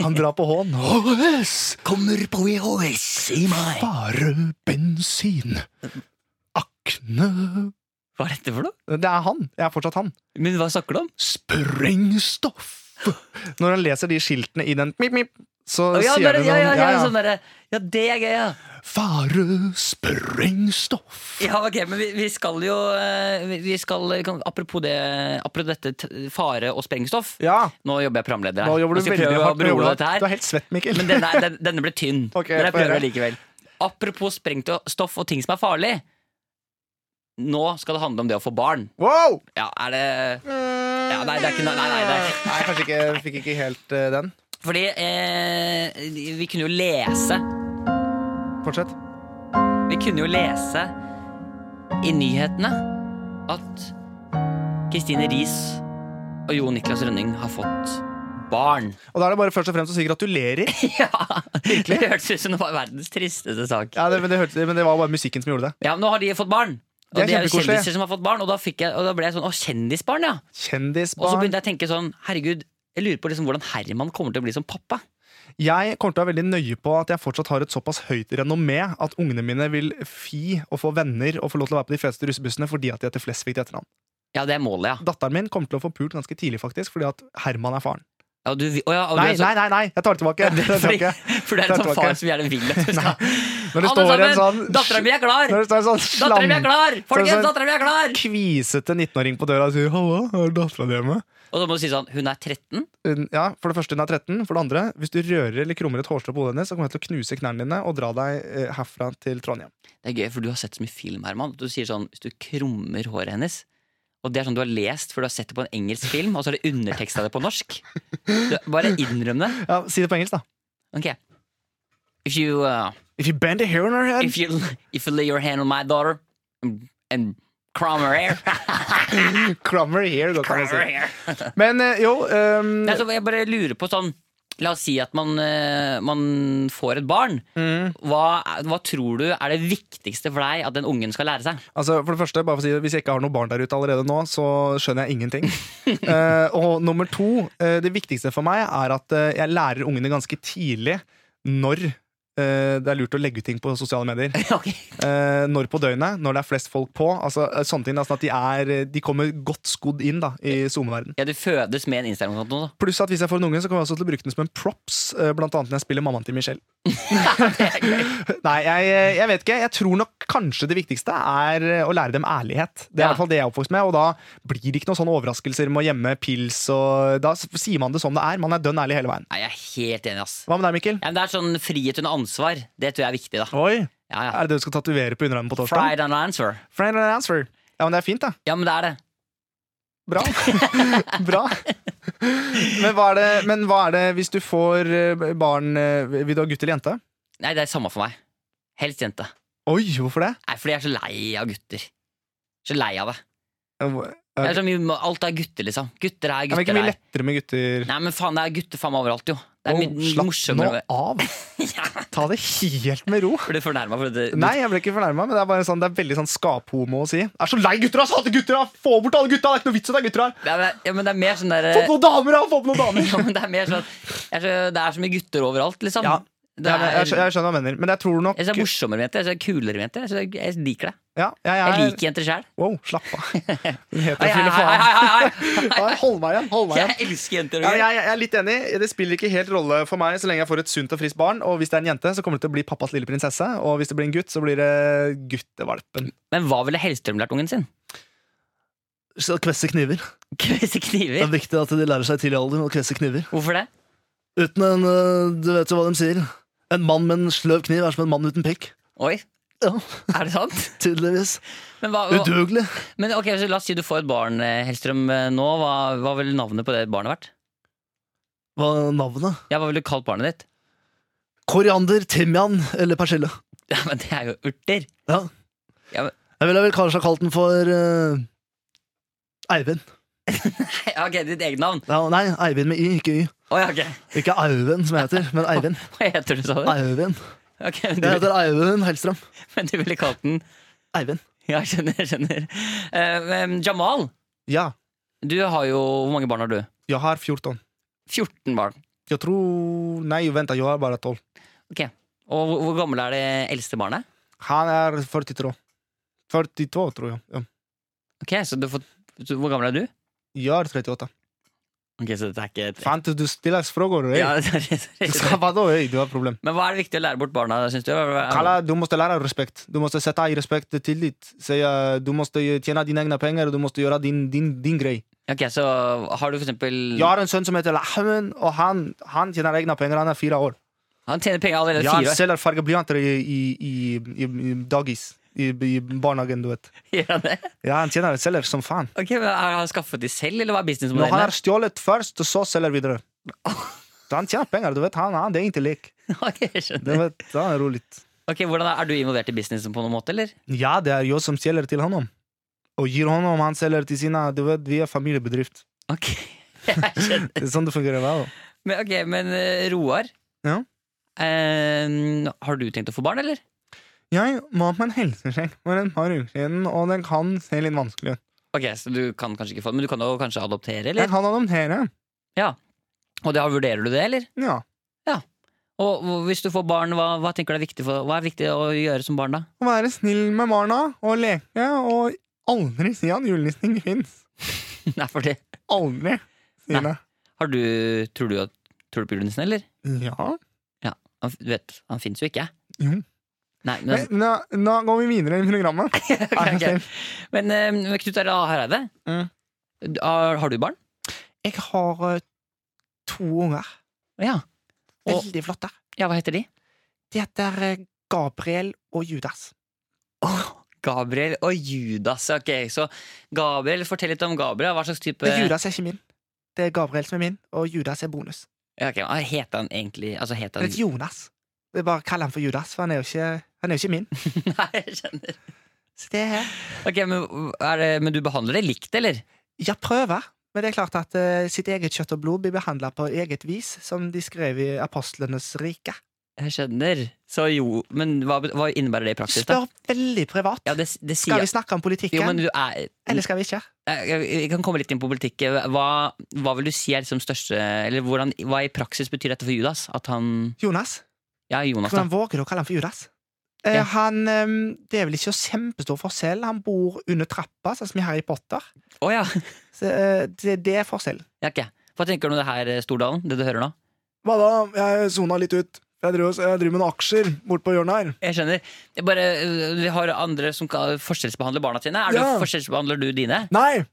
S3: Han drar på H-en. HS!
S2: Kommer på VHS i mai.
S3: Bare bensin. Akne
S2: Hva er dette for noe?
S3: Det er han. Jeg er fortsatt han.
S2: Men hva snakker du om?
S3: Sprengstoff! Når han leser de skiltene i den mip, mip, så
S2: Å, ja,
S3: sier
S2: bare-
S3: du
S2: ja,
S3: noe
S2: ja, ja,
S3: ja,
S2: Sånn derre Ja, det er gøy, ja.
S3: Fare sprengstoff!
S2: Ja, ok, men vi, vi skal jo eh, vi- Vi skal, vi kan- Apropos det Apropos dette t- fare og sprengstoff.
S3: Ja,
S2: Nå jobber jeg programleder her.
S3: nå jobber du
S2: skal jeg
S3: veldig
S2: prøve å
S3: hardt. med
S2: berole
S3: hodet.
S2: dette her.
S3: Du er helt svett, Mikkel.
S2: Men denne, er- den, denne ble tynn.
S3: Ok,
S2: men jeg
S3: få høre.
S2: prøver likevel. Apropos sprengt og- stoff og ting som er farlig. Nå skal det handle om det å få barn.
S3: Wow!
S2: Ja, er det ja, Nei, det er ikke noe Nei, nei, nei.
S3: Nei, kanskje ikke, fikk ikke helt eh, den.
S2: Fordi eh, vi kunne jo lese
S3: Fortsett.
S2: Vi kunne jo lese i nyhetene at Kristine Riis og Jo Niklas Rønning har fått barn.
S3: Og da er det bare først og fremst å si gratulerer.
S2: Ja, Det hørtes ut som det var verdens tristeste sak.
S3: Ja, det, men, det hørte, men det var bare musikken som gjorde det.
S2: Ja, men nå har de fått barn. Og
S3: Det
S2: det
S3: er
S2: er, jo
S3: kjempekoselig.
S2: kjendiser som har fått barn, og da, fikk jeg, og da ble jeg sånn Å, kjendisbarn, ja. Og så
S3: Kjendisbarn.
S2: begynte jeg å tenke sånn Herregud, jeg lurer på liksom hvordan Herman kommer til å bli som pappa.
S3: Jeg kommer til å være veldig nøye på at jeg fortsatt har et såpass høyt renommé at ungene mine vil fi og få venner og få lov til å være på de fleste russebussene fordi at de heter Flesvig til etternavn.
S2: Ja, det er målet, ja.
S3: Datteren min kommer til å få pult ganske tidlig, faktisk, fordi at Herman er faren.
S2: ja, du, vil- å, ja og
S3: Nei,
S2: du, er så-
S3: nei, nei, nei, jeg tar det tilbake! Det tar jeg
S2: Fordi,
S3: tilbake.
S2: for det er en
S3: Tar
S2: sånn far
S3: tilbake.
S2: som gjerne vil at du skal
S3: Når det
S2: Alle
S3: står en sånn
S2: sammen, dattera mi er klar!
S3: Når det står en sånn
S2: Dattera mi
S3: slam,
S2: er klar! Folkens,
S3: sånn-
S2: dattera mi er klar!
S3: kvisete 19-åring på døra og sier 'halla, er dattera di hjemme?'
S2: Og så må du si sånn Hun er 13?
S3: Hun- Ja, for det første hun er 13. For det andre, hvis du rører eller krummer et hårstrå på hodet hennes, så kommer jeg til å knuse knærne dine og dra deg eh, herfra til Trondheim.
S2: Det er gøy, for du har sett så mye film, Herman. Du sier sånn Hvis du krummer håret hennes Og det er sånn du har lest før du har sett det på en engelsk film, og så har du underteksta det på norsk. Du, bare innrøm det.
S3: Ja, Si det på engelsk, da.
S2: Ok. If you uh,
S3: If you bend a hair on her head
S2: if you if you lay your hand on my daughter and, and crumb her hair,
S3: Crumb her hair, godt kan
S2: crumb
S3: jeg
S2: her
S3: si.
S2: hair.
S3: Men eh, jo ehm,
S2: Nei, så jeg bare lurer på sånn La oss si at man, eh, man får et barn.
S3: mm,
S2: Hva, hva tror du er det viktigste for deg at den ungen skal lære seg?
S3: altså, For det første, bare for å si det, hvis jeg ikke har noen barn der ute allerede nå, så skjønner jeg ingenting. Eh, og nummer to, eh, det viktigste for meg er at eh, jeg lærer ungene ganske tidlig når eh, det er lurt å legge ut ting på sosiale medier.
S2: Ok.
S3: Eh, når på døgnet, når det er flest folk på. Altså, eh, sånne ting, da, sånn at de, er, de kommer godt skodd inn da, i SoMe-verden.
S2: Ja, Du fødes med en Instagram-konto, da.
S3: Pluss at hvis jeg får en unge, så kommer jeg også til å bruke den som en props. eh, Blant annet når jeg spiller mammaen til Michelle. Nei, jeg, eh, jeg vet ikke. Jeg tror nok kanskje det viktigste er eh, å lære dem ærlighet. Det er
S2: Ja.
S3: i hvert fall det jeg er oppvokst med, og da blir det ikke noen sånne overraskelser med å gjemme pils. Og da s- sier man det som det er. Man er dønn ærlig hele veien.
S2: Nei, jeg er helt enig, ass.
S3: Hva med deg, Mikkel?
S2: Ja, men det er sånn frihet under ansvar. Det tror jeg er viktig, da.
S3: Oi,
S2: Ja, ja.
S3: Er det det du skal tatovere på underarmen på torsdag?
S2: Fried and answer.
S3: Friend and answer. Ja, men det er fint, da.
S2: Ja, men det er det.
S3: Bra. Bra. Men hva, er det, men hva er det hvis du får eh, barn eh, Vil du ha gutt eller jente?
S2: Nei, det er samme for meg. Helst jente.
S3: Oi, hvorfor det?
S2: Nei, fordi jeg er så lei av gutter. Så lei av det.
S3: Hvor-
S2: Det er så mye, alt er gutter, liksom. Gutter er
S3: Ja, men
S2: gutter.
S3: ikke mye
S2: er.
S3: lettere med gutter.
S2: Nei, men faen, det er gutter faen meg overalt, jo. Det er
S3: Åh,
S2: mye
S3: slapp nå
S2: morsommere.
S3: av!
S2: Ja,
S3: Ta det helt med ro.
S2: Ble du fornærma for det?
S3: Nei, jeg ble ikke fornærma, men det er bare sånn, det er veldig sånn skaphomo å si. Jeg er så lei gutter, ass! Hater gutter! ass! Få bort alle gutta! Det er ikke noe vits i at det er gutter her!
S2: Ja, men, ja, men det er mer sånn
S3: Få opp noen
S2: derre
S3: damer, ass! Få opp noen damer!
S2: ja, men Det er mer sånn jeg er så, Det er så mye gutter overalt, liksom.
S3: Ja.
S2: Det
S3: Ja,
S2: er,
S3: men jeg, skjø-
S2: jeg,
S3: jeg skjønner hva du mener, men jeg tror nok
S2: synes det er morsommere med jenter. Jeg synes det er kulere med jenter. Jeg, synes det er- jeg liker det.
S3: ja, jeg,
S2: Jeg
S3: er,
S2: liker jenter sjæl.
S3: Wow, slapp av. Du heter
S2: Hei, hei,
S3: Fille
S2: hei,
S3: Faen.
S2: hei, hei, hei.
S3: Nei, Hold meg igjen! Hold meg igjen.
S2: Jeg elsker jenter.
S3: Ja,
S2: og greier.
S3: jeg, jeg er litt enig. Det spiller ikke helt rolle for meg så lenge jeg får et sunt og friskt barn. Og hvis det er en jente, så kommer det til å bli pappas lille prinsesse. Og hvis det blir en gutt, så blir det guttevalpen.
S2: Men hva ville Hellstrøm lært ungen sin?
S5: Så kvesse kniver.
S2: Kvesse
S5: Det er
S2: kniver.
S5: viktig at de lærer seg tidlig alder å kvesse kniver.
S2: Hvorfor det?
S5: Uten en, øh, Du vet jo hva de sier. En mann med en sløv kniv er som en mann uten pikk.
S2: Oi,
S5: Ja,
S2: er det sant?
S5: tydeligvis.
S2: Men, hva, hva,
S5: Udugelig.
S2: men ok, så La oss si du får et barn, eh, Hellstrøm, eh, nå. Hva, hva ville navnet på det barnet vært?
S5: Hva er navnet?
S2: Ja, Hva ville du kalt barnet ditt?
S5: Koriander, timian eller persille.
S2: Ja, men Det er jo urter!
S5: Ja.
S2: Ja, men-
S5: Jeg ville vel kanskje ha kalt den for øh, Eivind.
S2: Ja, ok, Ditt eget navn?
S5: Ja, nei, Eivind med Y, ikke Y.
S2: Oi, ok,
S5: Ikke Eivind, som jeg heter, men Eivind.
S2: Hva heter du, sa du?
S5: Eivind.
S2: Ok, men,
S5: Jeg
S2: du
S5: heter Eivind Hellstrøm.
S2: men du ville kalt den
S5: Eivind.
S2: Ja, jeg skjønner. jeg skjønner Eh, em, Jamal,
S3: Ja,
S2: du har jo Hvor mange barn har du?
S3: jeg har 14.
S2: 14 barn.
S3: Jeg tror Nei, vent, jeg har bare 12.
S2: Ok, Og hvor, hvor gammel er det eldste barnet?
S3: Han er 42. 42, tror jeg. Ja.
S2: Ok, så du har fått så Hvor gammel er du?
S3: Jeg er 38.
S2: Ok, så dette er ikke et
S3: Fant du stiller spørsmål? ey.
S2: ja, sorry, sorry, sorry.
S3: Hva da, ey? Du har problem.
S2: Men hva er det viktig å lære bort barna, syns du? Hva-
S3: Kalla, du må lære respekt. Du må sette i respekt og tillit. Si, eh, Du må tjene dine egne penger, og du må gjøre din, din, din grei.
S2: Ok, så har du for eksempel
S3: Jeg har en sønn som heter Lahmen, og han, han tjener egne penger. Han er fire år.
S2: Han tjener penger allerede
S3: Ja, han
S2: fire år.
S3: selger fargeblyanter i, i, i, i, i dagis. I, I barnehagen, du vet.
S2: Gjør han det?
S3: Ja, han tjener selger som faen.
S2: Ok, men Har han skaffet de selv, eller hva er
S3: Når han
S2: businessmodellen?
S3: har stjålet først, så selger videre. Så han tjener penger, du vet. Han, han det er ikke lek.
S2: Ok, jeg
S3: Det
S2: skjønner.
S3: vet, han er rolig.
S2: Ok, hvordan Er er du involvert i businessen på noen måte, eller?
S3: Ja, det er jeg som selger til ham. Og gir ham, han selger til sine. Du vet, vi er familiebedrift.
S2: Ok, jeg skjønner.
S3: Det er sånn det fungerer. hva da?
S2: Men, ok, men eh, Roar,
S3: Ja.
S2: eh, har du tenkt å få barn, eller?
S3: Jeg var på en helsesjekk for et par uker siden, og den kan se litt vanskelig ut.
S2: Ok, så du kan kanskje ikke få Men du kan jo kanskje adoptere,
S3: Jeg
S2: eller?
S3: kan adoptere.
S2: Og det, Vurderer du det, eller?
S3: Ja.
S2: Og og hvis du får barn, hva, hva tenker du er viktig, for, hva er viktig å gjøre som barn, da?
S3: Å være snill med barna og leke og aldri si at julenissen fins.
S2: Nei, fordi,
S3: Aldri. Si
S2: Nei.
S3: det.
S2: har du, tror, du at, tror du på julenissen, eller?
S3: Ja.
S2: Han, f- du vet, han fins jo ikke.
S3: Jo.
S2: Nei, men,
S3: Men, nå, nå går vi videre i programmet.
S2: Ok, ok. men eh, Knut Arild Hareide,
S3: Mm.
S2: du- har, har du barn?
S3: Jeg har eh, to unger.
S2: Ja. Og,
S3: Veldig flotte.
S2: ja, hva heter de?
S3: De heter eh, Gabriel og Judas.
S2: Gabriel og Judas. Ok, så Gabriel, Fortell litt om Gabriel. Hva slags type
S3: Men Judas er ikke min. Det er Gabriel som er min, og Judas er bonus.
S2: Ja, ok, hva Heter han egentlig altså, heter
S3: Jeg
S2: han...
S3: vet Jonas. Jeg bare kaller han for Judas, for han er jo ikke, han er jo ikke min.
S2: Nei, jeg skjønner.
S3: Så det er
S2: Ok, men, er det, men du behandler det likt, eller?
S3: Ja, prøver. Men det er klart at eh, sitt eget kjøtt og blod blir behandla på eget vis, som de skrev i Apostlenes rike.
S2: Jeg skjønner. Så jo, men hva, hva innebærer det i praksis, da?
S3: Spør veldig privat.
S2: Ja, det, det
S3: Skal
S2: sier
S3: vi snakke om politikken,
S2: Jo, men du er eh,
S3: eller skal vi ikke?
S2: Jeg jeg kan komme litt inn på politikk. Hva, hva vil du si er liksom største Eller hvordan, hva i praksis betyr dette for Judas? At han
S3: Jonas?
S2: Ja, Jonas, da.
S3: Hvordan våger du å kalle han for Judas? Eh,
S2: Ja.
S3: Han, eh, det er vel ikke så kjempestor forskjell. Han bor under trappa, sånn som i Harry Potter.
S2: Å ja.
S3: Så, eh, det, det er forskjellen.
S2: ja ok. Hva tenker du om det her, eh, Stordalen? Det du hører nå?
S5: Hva da? Jeg sona litt ut. Jeg driver, jeg driver med noen aksjer bort på hjørnet her.
S2: Jeg skjønner. Det er bare, øh, vi har andre som kan forskjellsbehandle barna sine. Er
S5: Ja.
S2: du forskjellsbehandler du dine?
S5: Nei!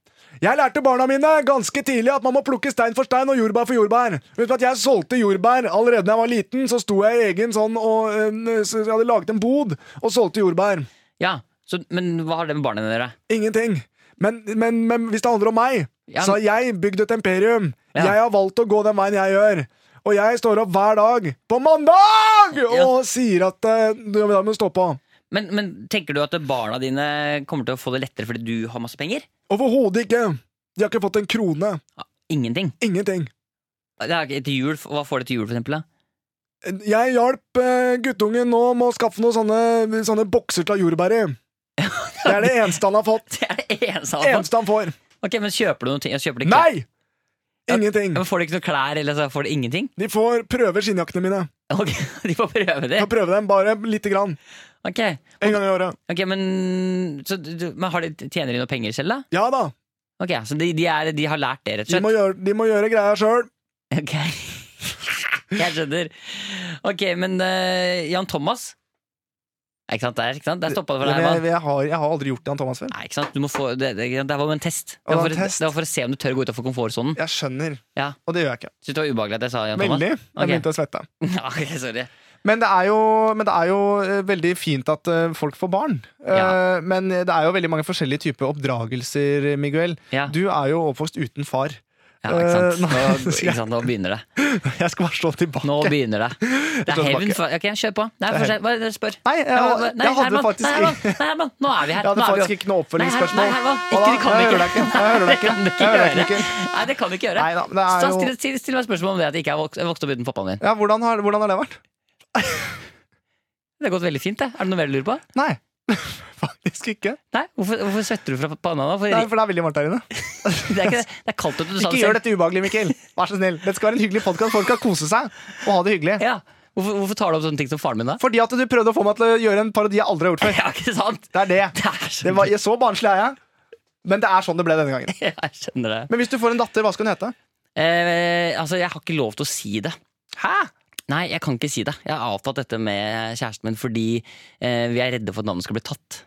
S5: Jeg lærte barna mine ganske tidlig at man må plukke stein for stein og jordbær for jordbær. Vet du at jeg solgte jordbær allerede da jeg var liten, så sto jeg i egen sånn og eh, så jeg hadde laget en bod og solgte jordbær.
S2: Ja. Så, men hva har det med barna dine å gjøre?
S5: Ingenting. Men, men, men hvis det handler om meg,
S2: Ja,
S5: så
S2: men-
S5: har jeg bygd et imperium.
S2: Ja.
S5: Jeg har valgt å gå den veien jeg gjør. Og jeg står opp hver dag, på mandag, og sier at eh, du da må du stå på.
S2: Men, men tenker du at barna dine kommer til å få det lettere fordi du har masse penger?
S5: Overhodet ikke. De har ikke fått en krone.
S2: Ingenting.
S5: Ingenting.
S2: Det er ikke til jul, hva får de til jul, for eksempel? Da?
S5: Jeg hjalp eh, guttungen nå med å skaffe noen sånne, sånne bokser til jordbær i. Det er det eneste han har fått.
S2: Det er det eneste han har fått.
S5: Eneste han får.
S2: Ok, men kjøper du noe? ting- Kjøper de klær?
S5: Nei! Ingenting.
S2: Ja, Men Får de ikke noe klær, eller så får de ingenting?
S5: De får prøve skinnjakkene mine.
S2: Ok, De får prøve det?
S5: Kan prøve dem bare lite grann.
S2: Ok,
S5: En gang i året.
S2: ok, men, så, du- du- men har de, tjener de noe penger selv, da?
S5: Ja da.
S2: Ok, Så de, de, er, de har lært det, rett og
S5: De
S2: slett?
S5: må gjøre, de må gjøre greia sjøl.
S2: Ok, Jeg skjønner. Ok, men eh, Jan Thomas? Nei, Ikke sant, der, ikke sant? der stoppa det for
S3: Men
S2: deg.
S3: jeg,
S2: Herman.
S3: jeg, har, jeg har aldri gjort det, han Thomas før.
S2: Nei, ikke sant? Du må få, det, det, det var jo en test.
S3: Å,
S2: Det var,
S3: det
S2: for,
S3: var en test.
S2: det var for å se om du tør å gå utafor komfortsonen.
S3: Jeg skjønner,
S2: Ja.
S3: og det gjør jeg ikke.
S2: Syns det var ubehagelig at jeg sa Jan
S3: Veldig.
S2: Thomas?
S3: Jeg
S2: Ok.
S3: begynte å svette.
S2: Ja, ok, sorry.
S3: Men det er jo, men det er jo eh, veldig fint at eh, folk får barn. Eh,
S2: Ja.
S3: Men det er jo veldig mange forskjellige typer oppdragelser, Miguel.
S2: Ja.
S3: Du er jo oppvokst uten far.
S2: Ja, ikke
S3: Eh,
S2: sant?
S3: nei,
S2: Nå,
S3: skal jeg-
S2: ikke sant? Nå begynner det.
S3: Jeg skal bare slå tilbake.
S2: Nå begynner det. Det er
S3: står
S2: hevn
S3: tilbake.
S2: for Ok, kjør på. Nei,
S3: Det er
S2: for seg. Bare spør.
S3: Nei, jeg,
S2: Ja,
S3: jeg,
S2: hva- nei,
S3: hadde
S2: Herman,
S3: faktisk,
S2: nei, Herman, nei, Herman, nå er vi her.
S3: jeg hadde
S2: Nå er vi
S3: faktisk
S2: jo-
S3: ikke noe
S2: Nei,
S3: oppfølgingsspørsmål.
S2: Herman,
S3: Hva da?
S2: Herman, ikke,
S3: jeg
S2: det
S3: hører deg
S2: kan vi
S3: ikke. Jeg hører
S2: Det
S3: deg ikke.
S2: kan du ikke
S3: Jeg hører deg
S2: gjøre.
S3: ikke.
S2: Nei, det kan du ikke gjøre.
S3: Nei da, det
S2: Så
S3: er jo
S2: still, still, still meg spørsmål om det at jeg ikke har vokst, jeg vokste opp uten pappaen min.
S3: ja, hvordan, har, hvordan har det vært?
S2: Det har gått veldig fint, det. Er det noe mer du lurer på?
S3: Nei, faktisk ikke.
S2: Nei, Hvorfor, hvorfor svetter du fra panna nå? For,
S3: Nei, for det er veldig varmt her inne.
S2: det, er ikke, det. det er kaldt ute, du sa
S3: Ikke
S2: det
S3: gjør
S2: selv.
S3: dette ubehagelig, Mikkel. Vær så snill. Dette skal være en hyggelig podkast. Folk kan kose seg og ha det hyggelig.
S2: Ja. Hvorfor, hvorfor tar du opp sånne ting som faren min, da?
S3: Fordi at du prøvde å få meg til å gjøre en parodi jeg aldri har gjort før.
S2: Ja, ikke sant?
S3: Det er det.
S2: Det er så
S3: det var, jeg så barnslig er jeg, men det er sånn det ble denne gangen.
S2: Jeg skjønner det.
S3: Men hvis du får en datter, hva skal hun hete?
S2: Eh, altså, jeg har ikke lov til å si det.
S3: Hæ?
S2: Nei, jeg kan ikke si det. Jeg har avtalt dette med kjæresten min fordi eh, vi er redde for at navnet skal bli tatt.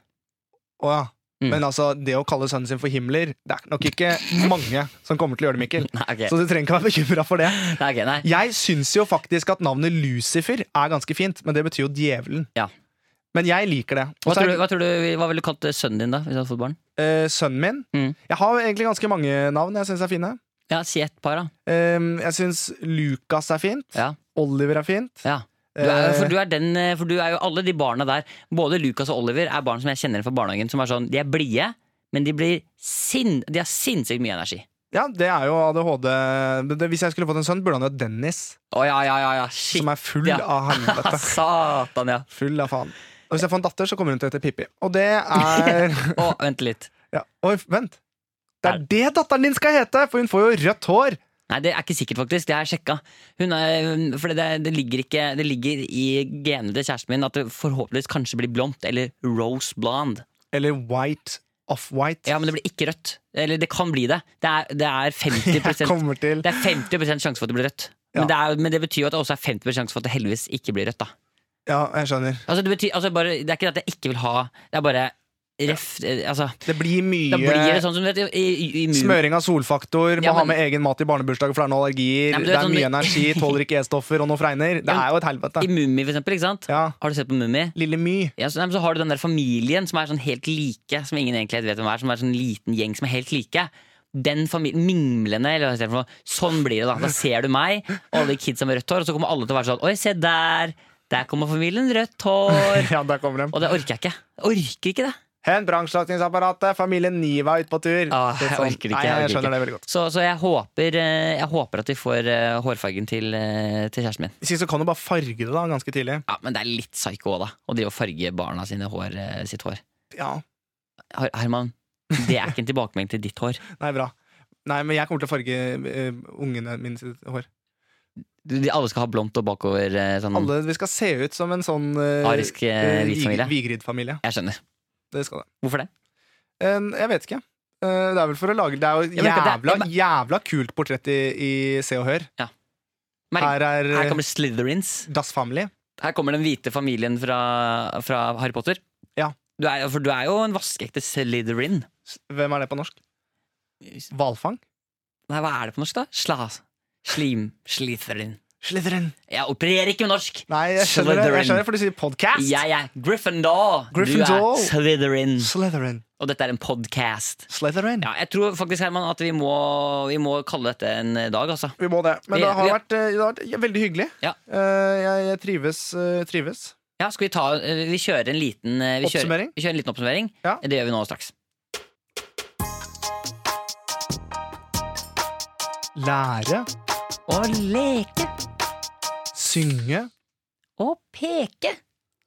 S3: Å ja.
S2: Mm.
S3: Men altså, det å kalle sønnen sin for Himmler, det er nok ikke mange som kommer til å gjøre det, Mikkel.
S2: Nei, ok.
S3: Så du trenger ikke være bekymra for det.
S2: Nei, ok, nei.
S3: Jeg syns jo faktisk at navnet Lucifer er ganske fint, men det betyr jo djevelen.
S2: Ja.
S3: Men jeg liker det. Og så
S2: Hva,
S3: er
S2: tror du, hva, tror du, hva ville du kalt eh, sønnen din, da? Hvis du hadde fått barn?
S3: eh, sønnen min
S2: Mm.
S3: Jeg har egentlig ganske mange navn jeg syns er fine.
S2: Ja, Si et par, da.
S3: Eh, jeg syns Lukas er fint.
S2: Ja.
S3: Oliver er fint.
S2: Ja. Du er,
S3: Eh.
S2: for, du er den, eh, for du er jo alle de barna der. Både Lukas og Oliver er barn som jeg kjenner fra barnehagen. Som er sånn, De er blide, men de, blir sinn, de har sinnssykt mye energi.
S3: Ja, det er jo ADHD. Men det- Hvis jeg skulle fått en sønn, burde han hett Dennis.
S2: Å ja, ja, ja, ja. Shit.
S3: Som er full
S2: ja.
S3: av helvete.
S2: Satan, ja.
S3: Full av faen. Og hvis jeg får en datter, så kommer hun til å hete Pippi. Og det er
S2: Å, vent litt.
S3: ja. Oi, vent. Det er det datteren din skal hete! For hun får jo rødt hår.
S2: Nei, det er ikke sikkert, faktisk. Det har jeg sjekka. Hun er, for det, det, ligger ikke, det ligger i genene til kjæresten min at det forhåpentligvis kanskje blir blondt, eller rose blonde.
S3: Eller white. Off-white.
S2: Ja, men det blir ikke rødt. Eller det kan bli det. Det er, det er 50
S3: Jeg kommer til
S2: Det er 50 sjanse for at det blir rødt.
S3: Ja.
S2: Men, det er, men det betyr jo at det også er 50 sjanse for at det heldigvis ikke blir rødt. da
S3: Ja, jeg skjønner.
S2: Altså, det, betyr, altså bare, det er ikke det at jeg ikke vil ha Det er bare ref, eh, altså,
S3: Det blir mye
S2: Da blir det sånn som du vet, i, i, i mu-
S3: Smøring av solfaktor,
S2: Ja,
S3: må ha
S2: men-
S3: med egen mat i barnebursdager, for det er noen allergier.
S2: Nei, men du
S3: det
S2: vet
S3: er
S2: sånn-
S3: mye energi, tåler ikke E-stoffer og noe fregner. Det
S2: Ja,
S3: er jo et helvete.
S2: I Mummi, for eksempel. Ikke sant?
S3: Ja,
S2: Har du sett på Mummi?
S3: Lille My.
S2: Ja, så, nei, men så har du den der familien som er sånn helt like, som ingen egentlig helt vet hvem er, som er sånn liten gjeng som er helt like. Den familien, Minglende, eller hva heter det for noe. Sånn blir det, da. Da ser du meg og alle de kidsa med rødt hår, og så kommer alle til å være sånn Oi, se der! Der kommer familien rødt hår!
S3: Ja, der kommer de.
S2: Og det orker jeg ikke. Jeg orker ikke det.
S3: Hent brannslagningsapparatet, familien Niva er ute på tur.
S2: Ah, jeg
S3: Litt sånn.
S2: orker ikke,
S3: Nei,
S2: jeg
S3: jeg
S2: orker ikke.
S3: skjønner det veldig godt.
S2: Så, så jeg, håper, eh, jeg håper at vi får eh, hårfargen til, eh, til kjæresten min.
S3: Sist så kan du bare farge det da, ganske tidlig.
S2: Ja, Men det er litt psyko også, da, å drive og farge barna sine hår, eh, sitt hår.
S3: Ja,
S2: Her- Herman, det er ikke en tilbakemelding til ditt hår.
S3: Nei, bra. Nei, men jeg kommer til å farge eh, ungene mine sitt hår.
S2: Du- de- Alle skal ha blondt og bakover. eh, Sånn.
S3: Alle, Vi skal se ut som en sånn eh,
S2: Arisk, eh, hvit familie.
S3: vig- Vigrid-familie.
S2: Jeg skjønner.
S3: Det skal det.
S2: Hvorfor det?
S3: Eh, jeg vet ikke. Eh, det er vel for å lage Det er jo
S2: Jeg merker at det
S3: jævla,
S2: er-
S3: jævla kult portrett i, i Se og Hør.
S2: Merk,
S3: Her er
S2: her
S3: eh,
S2: kommer Slytherins.
S3: Das Family.
S2: Her kommer den hvite familien fra, fra Harry Potter.
S3: Ja.
S2: Du er, jo- for du er jo en vaskeekte Slytherin.
S3: S- Hvem er det på norsk? Hvalfang?
S2: Nei, hva er det på norsk, da? Sla, slim, Slytherin.
S3: Slytherin.
S2: Jeg opererer ikke med norsk!
S3: Nei, jeg skjønner det,
S2: Slytherin.
S3: jeg skjønner det for du sier podcast.
S2: Jeg er Gryffindor!
S3: Gryffindor.
S2: Du er Slytherin.
S3: Slytherin.
S2: Og dette er en podcast.
S3: Slytherin.
S2: Ja, jeg tror faktisk, Herman, at vi må, vi må kalle dette en dag, altså.
S3: Vi må det. Men
S2: Vi-
S3: det har
S2: vi-
S3: vært, eh, det har vært veldig hyggelig.
S2: Ja.
S3: Eh, jeg, jeg trives. eh, trives.
S2: Ja, skal vi ta eh, Vi kjører en liten eh, vi kjører,
S3: Oppsummering?
S2: Vi kjører en liten oppsummering.
S3: Ja.
S2: Det gjør vi nå straks.
S3: Lære.
S2: Å leke
S3: Synge.
S2: og peke.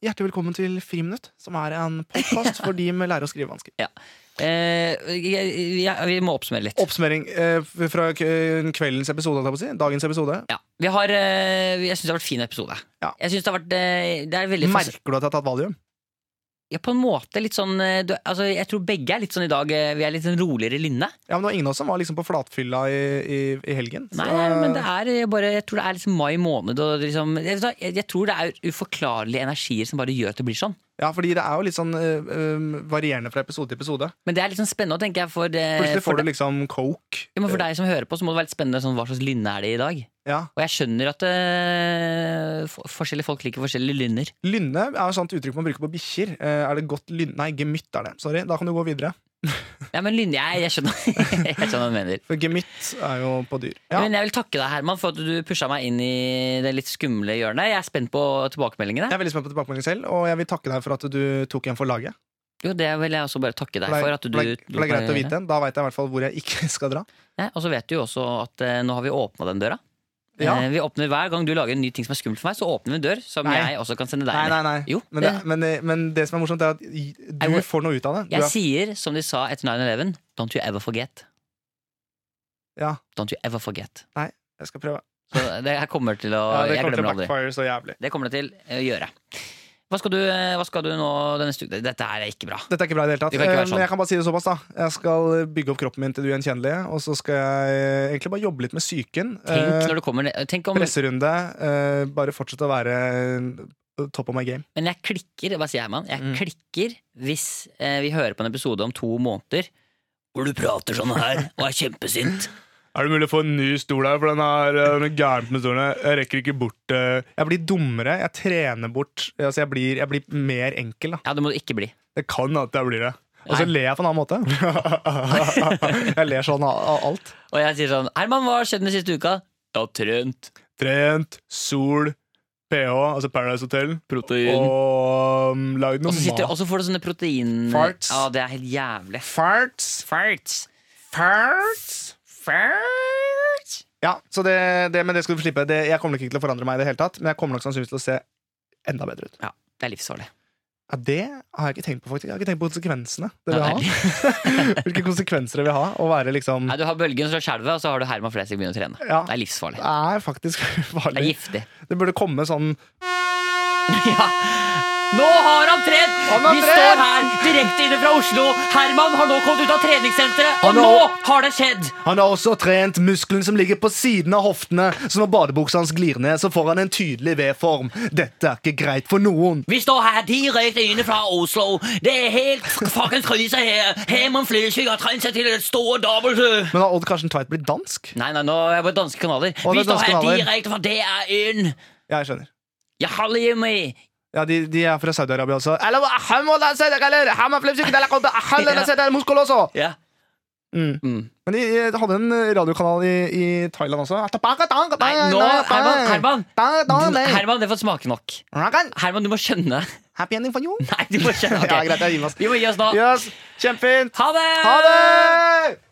S3: Hjertelig velkommen til Friminutt, som er en podkast for de med lære- og skrivevansker.
S2: Eh, jeg- jeg- vi må oppsummere litt.
S3: Oppsummering eh, fra k- kveldens episode, holdt jeg på å si. Dagens episode.
S2: ja. vi har, eh, jeg syns det har vært fin episode.
S3: Ja.
S2: Jeg synes det har vært eh, det er veldig fas-
S3: Merker du at jeg har tatt valium?
S2: ja, På en måte litt sånn eh, du, altså, Jeg tror begge er litt sånn i dag. eh, Vi er litt sånn roligere i lynnet.
S3: Ja, men det var ingen av oss som var liksom på flatfylla i, i, i helgen. Så-
S2: Nei, men det er eh, bare Jeg tror det er liksom mai måned og liksom Jeg, vet hva, jeg, jeg tror det er uforklarlige energier som bare gjør at det blir sånn.
S3: Ja, fordi det er jo litt sånn eh, eh, varierende fra episode til episode.
S2: Men det er litt sånn spennende, tenker jeg, for, eh,
S3: Plutselig
S2: for,
S3: får
S2: de-
S3: du liksom coke.
S2: Ja, men For deg som hører på, så må det være litt spennende sånn, hva slags lynne er det i dag.
S3: Ja.
S2: Og jeg skjønner at eh, for- forskjellige folk liker forskjellige lynner.
S3: Lynne er jo et sånt uttrykk man bruker på bikkjer. Eh, er det godt lynne? Nei, gemytt er det. Sorry, da kan du gå videre.
S2: Ja, men lynne, jeg, jeg, skjønner, jeg skjønner hva du mener.
S3: For gemytt er jo på dyr. Ja.
S2: Men jeg vil takke deg, Herman, for at du pusha meg inn i det litt skumle hjørnet. Jeg er spent på
S3: Jeg
S2: tilbakemeldingene.
S3: er veldig spent på tilbakemeldingen selv, og jeg vil takke deg for at du tok en for laget.
S2: Jo, det vil jeg også bare takke deg
S3: For det
S2: for
S3: er-
S2: at du
S3: for det er- for det er greit å vite. Da veit jeg i hvert fall hvor jeg ikke skal dra.
S2: Ja, og så vet du jo også at eh, nå har vi åpna den døra.
S3: Ja.
S2: Eh, vi åpner Hver gang du lager en ny ting som er skummelt for meg, så åpner vi en dør som
S3: Nei.
S2: jeg også kan sende deg
S3: Nei,
S2: inn i.
S3: nei, nei.
S2: Jo,
S3: men,
S2: det-
S3: det, men, det, men det som er morsomt, er at i- du
S2: det-
S3: får noe ut av det. Du
S2: Jeg
S3: er,
S2: sier som de sa etter 9-11, don't you ever forget.
S3: ja,
S2: Don't you ever forget.
S3: jeg skal prøve.
S2: Så det jeg kommer til å
S3: Ja, det
S2: Ah, Jeg
S3: kommer til
S2: glemmer
S3: å
S2: aldri.
S3: backfire så jævlig.
S2: Det kommer det til å gjøre. Hva skal du, eh, hva skal du nå denne uka? Dette her er ikke bra.
S3: Dette er ikke bra i det hele tatt.
S2: Det kan ikke
S3: Eh,
S2: være sånn.
S3: Men jeg kan bare si det såpass, da. Jeg skal eh, bygge opp kroppen min til det ugjenkjennelige, og så skal jeg eh, egentlig bare jobbe litt med psyken.
S2: Tenk
S3: Eh,
S2: når du kommer ned- Tenk om
S3: Presserunde. eh, bare fortsette å være eh, top of my game.
S2: Men jeg klikker, hva sier Herman? Jeg
S3: Mm.
S2: klikker hvis eh, vi hører på en episode om to måneder hvor du prater sånn her og er kjempesint.
S3: Er det mulig å få en ny stol her, for den er noe gærent med stolen? Jeg rekker ikke bort eh, Jeg blir dummere, jeg trener bort. Altså, jeg, blir, jeg blir mer enkel, da.
S2: Ja, det må du ikke bli.
S3: Det kan at jeg blir det. Og så
S2: Nei.
S3: ler jeg på en annen måte. jeg ler sånn av av alt.
S2: Og jeg sier sånn Herman, hva har skjedd den siste uka? Jeg har trønt.
S3: Trent, sol, pH, altså Paradise Hotel,
S2: Protein.
S3: og um, lagd noe
S2: Og så, sitter,
S3: mat.
S2: og så får du sånne protein...
S3: Farts.
S2: Ja, det er helt jævlig.
S3: Farts.
S2: Farts.
S3: Farts.
S2: Farts.
S3: Ja, så det, det, men det skal du få slippe. Det, jeg kommer nok ikke til å forandre meg i det hele tatt, men jeg kommer nok sannsynligvis til å se enda bedre ut.
S2: Ja, det er livsfarlig.
S3: Ja, Det har jeg ikke tenkt på, faktisk. Jeg har ikke tenkt på konsekvensene det vil
S2: Nei,
S3: ha. Hvilke konsekvenser det vil ha å være liksom
S2: Nei, du har bølgen fra skjelvet, og så har du Herman Flesvig begynner å trene.
S3: Ja,
S2: Det er livsfarlig.
S3: det er faktisk
S2: Det er
S3: farlig.
S2: giftig.
S3: Det burde komme sånn
S2: Ja. Nå har han trent!
S3: har
S2: Vi
S3: trent!
S2: står her direkte inne fra Oslo. Herman har nå kommet ut av treningssenteret, og
S3: Han
S2: nå
S3: har-
S2: har det skjedd!
S3: Han har også trent muskelen som ligger på siden av hoftene, så når badebuksa hans glir ned, så får han en tydelig V-form. Dette er ikke greit for noen.
S2: Vi står her direkte inne fra Oslo. Det er helt fuckings krise her. Herman Flesvig har trent seg til et stort dobbelt.
S3: Men har Odd Karsten Tveit blitt dansk?
S2: Nei, nei, nå er jeg på danske kanaler.
S3: Å,
S2: Vi
S3: det er
S2: står
S3: danske
S2: her
S3: kanaler.
S2: direkte fra DR1.
S3: Ja, jeg skjønner.
S2: Ja, hallo, Jimmy.
S3: Ja, De, de er fra Saudi-Arabia også. Eller, han må da se det, eller, han må flipse, eller, han må da se det, eller, muskel også.
S2: Ja. Mm.
S3: Men de eh, hadde en eh, radiokanal i, i Thailand også. Altså,
S2: Nei, nå, Herman, Herman. Herman, det får smake nok.
S3: Herman!
S2: Herman, du må skjønne.
S3: Happy ending for you.
S2: Nei, du må skjønne. ok.
S3: Ja, greit, jeg gir meg.
S2: Vi må gi oss nå.
S3: Yes, kjempefint.
S2: Ha det!
S3: Ha det!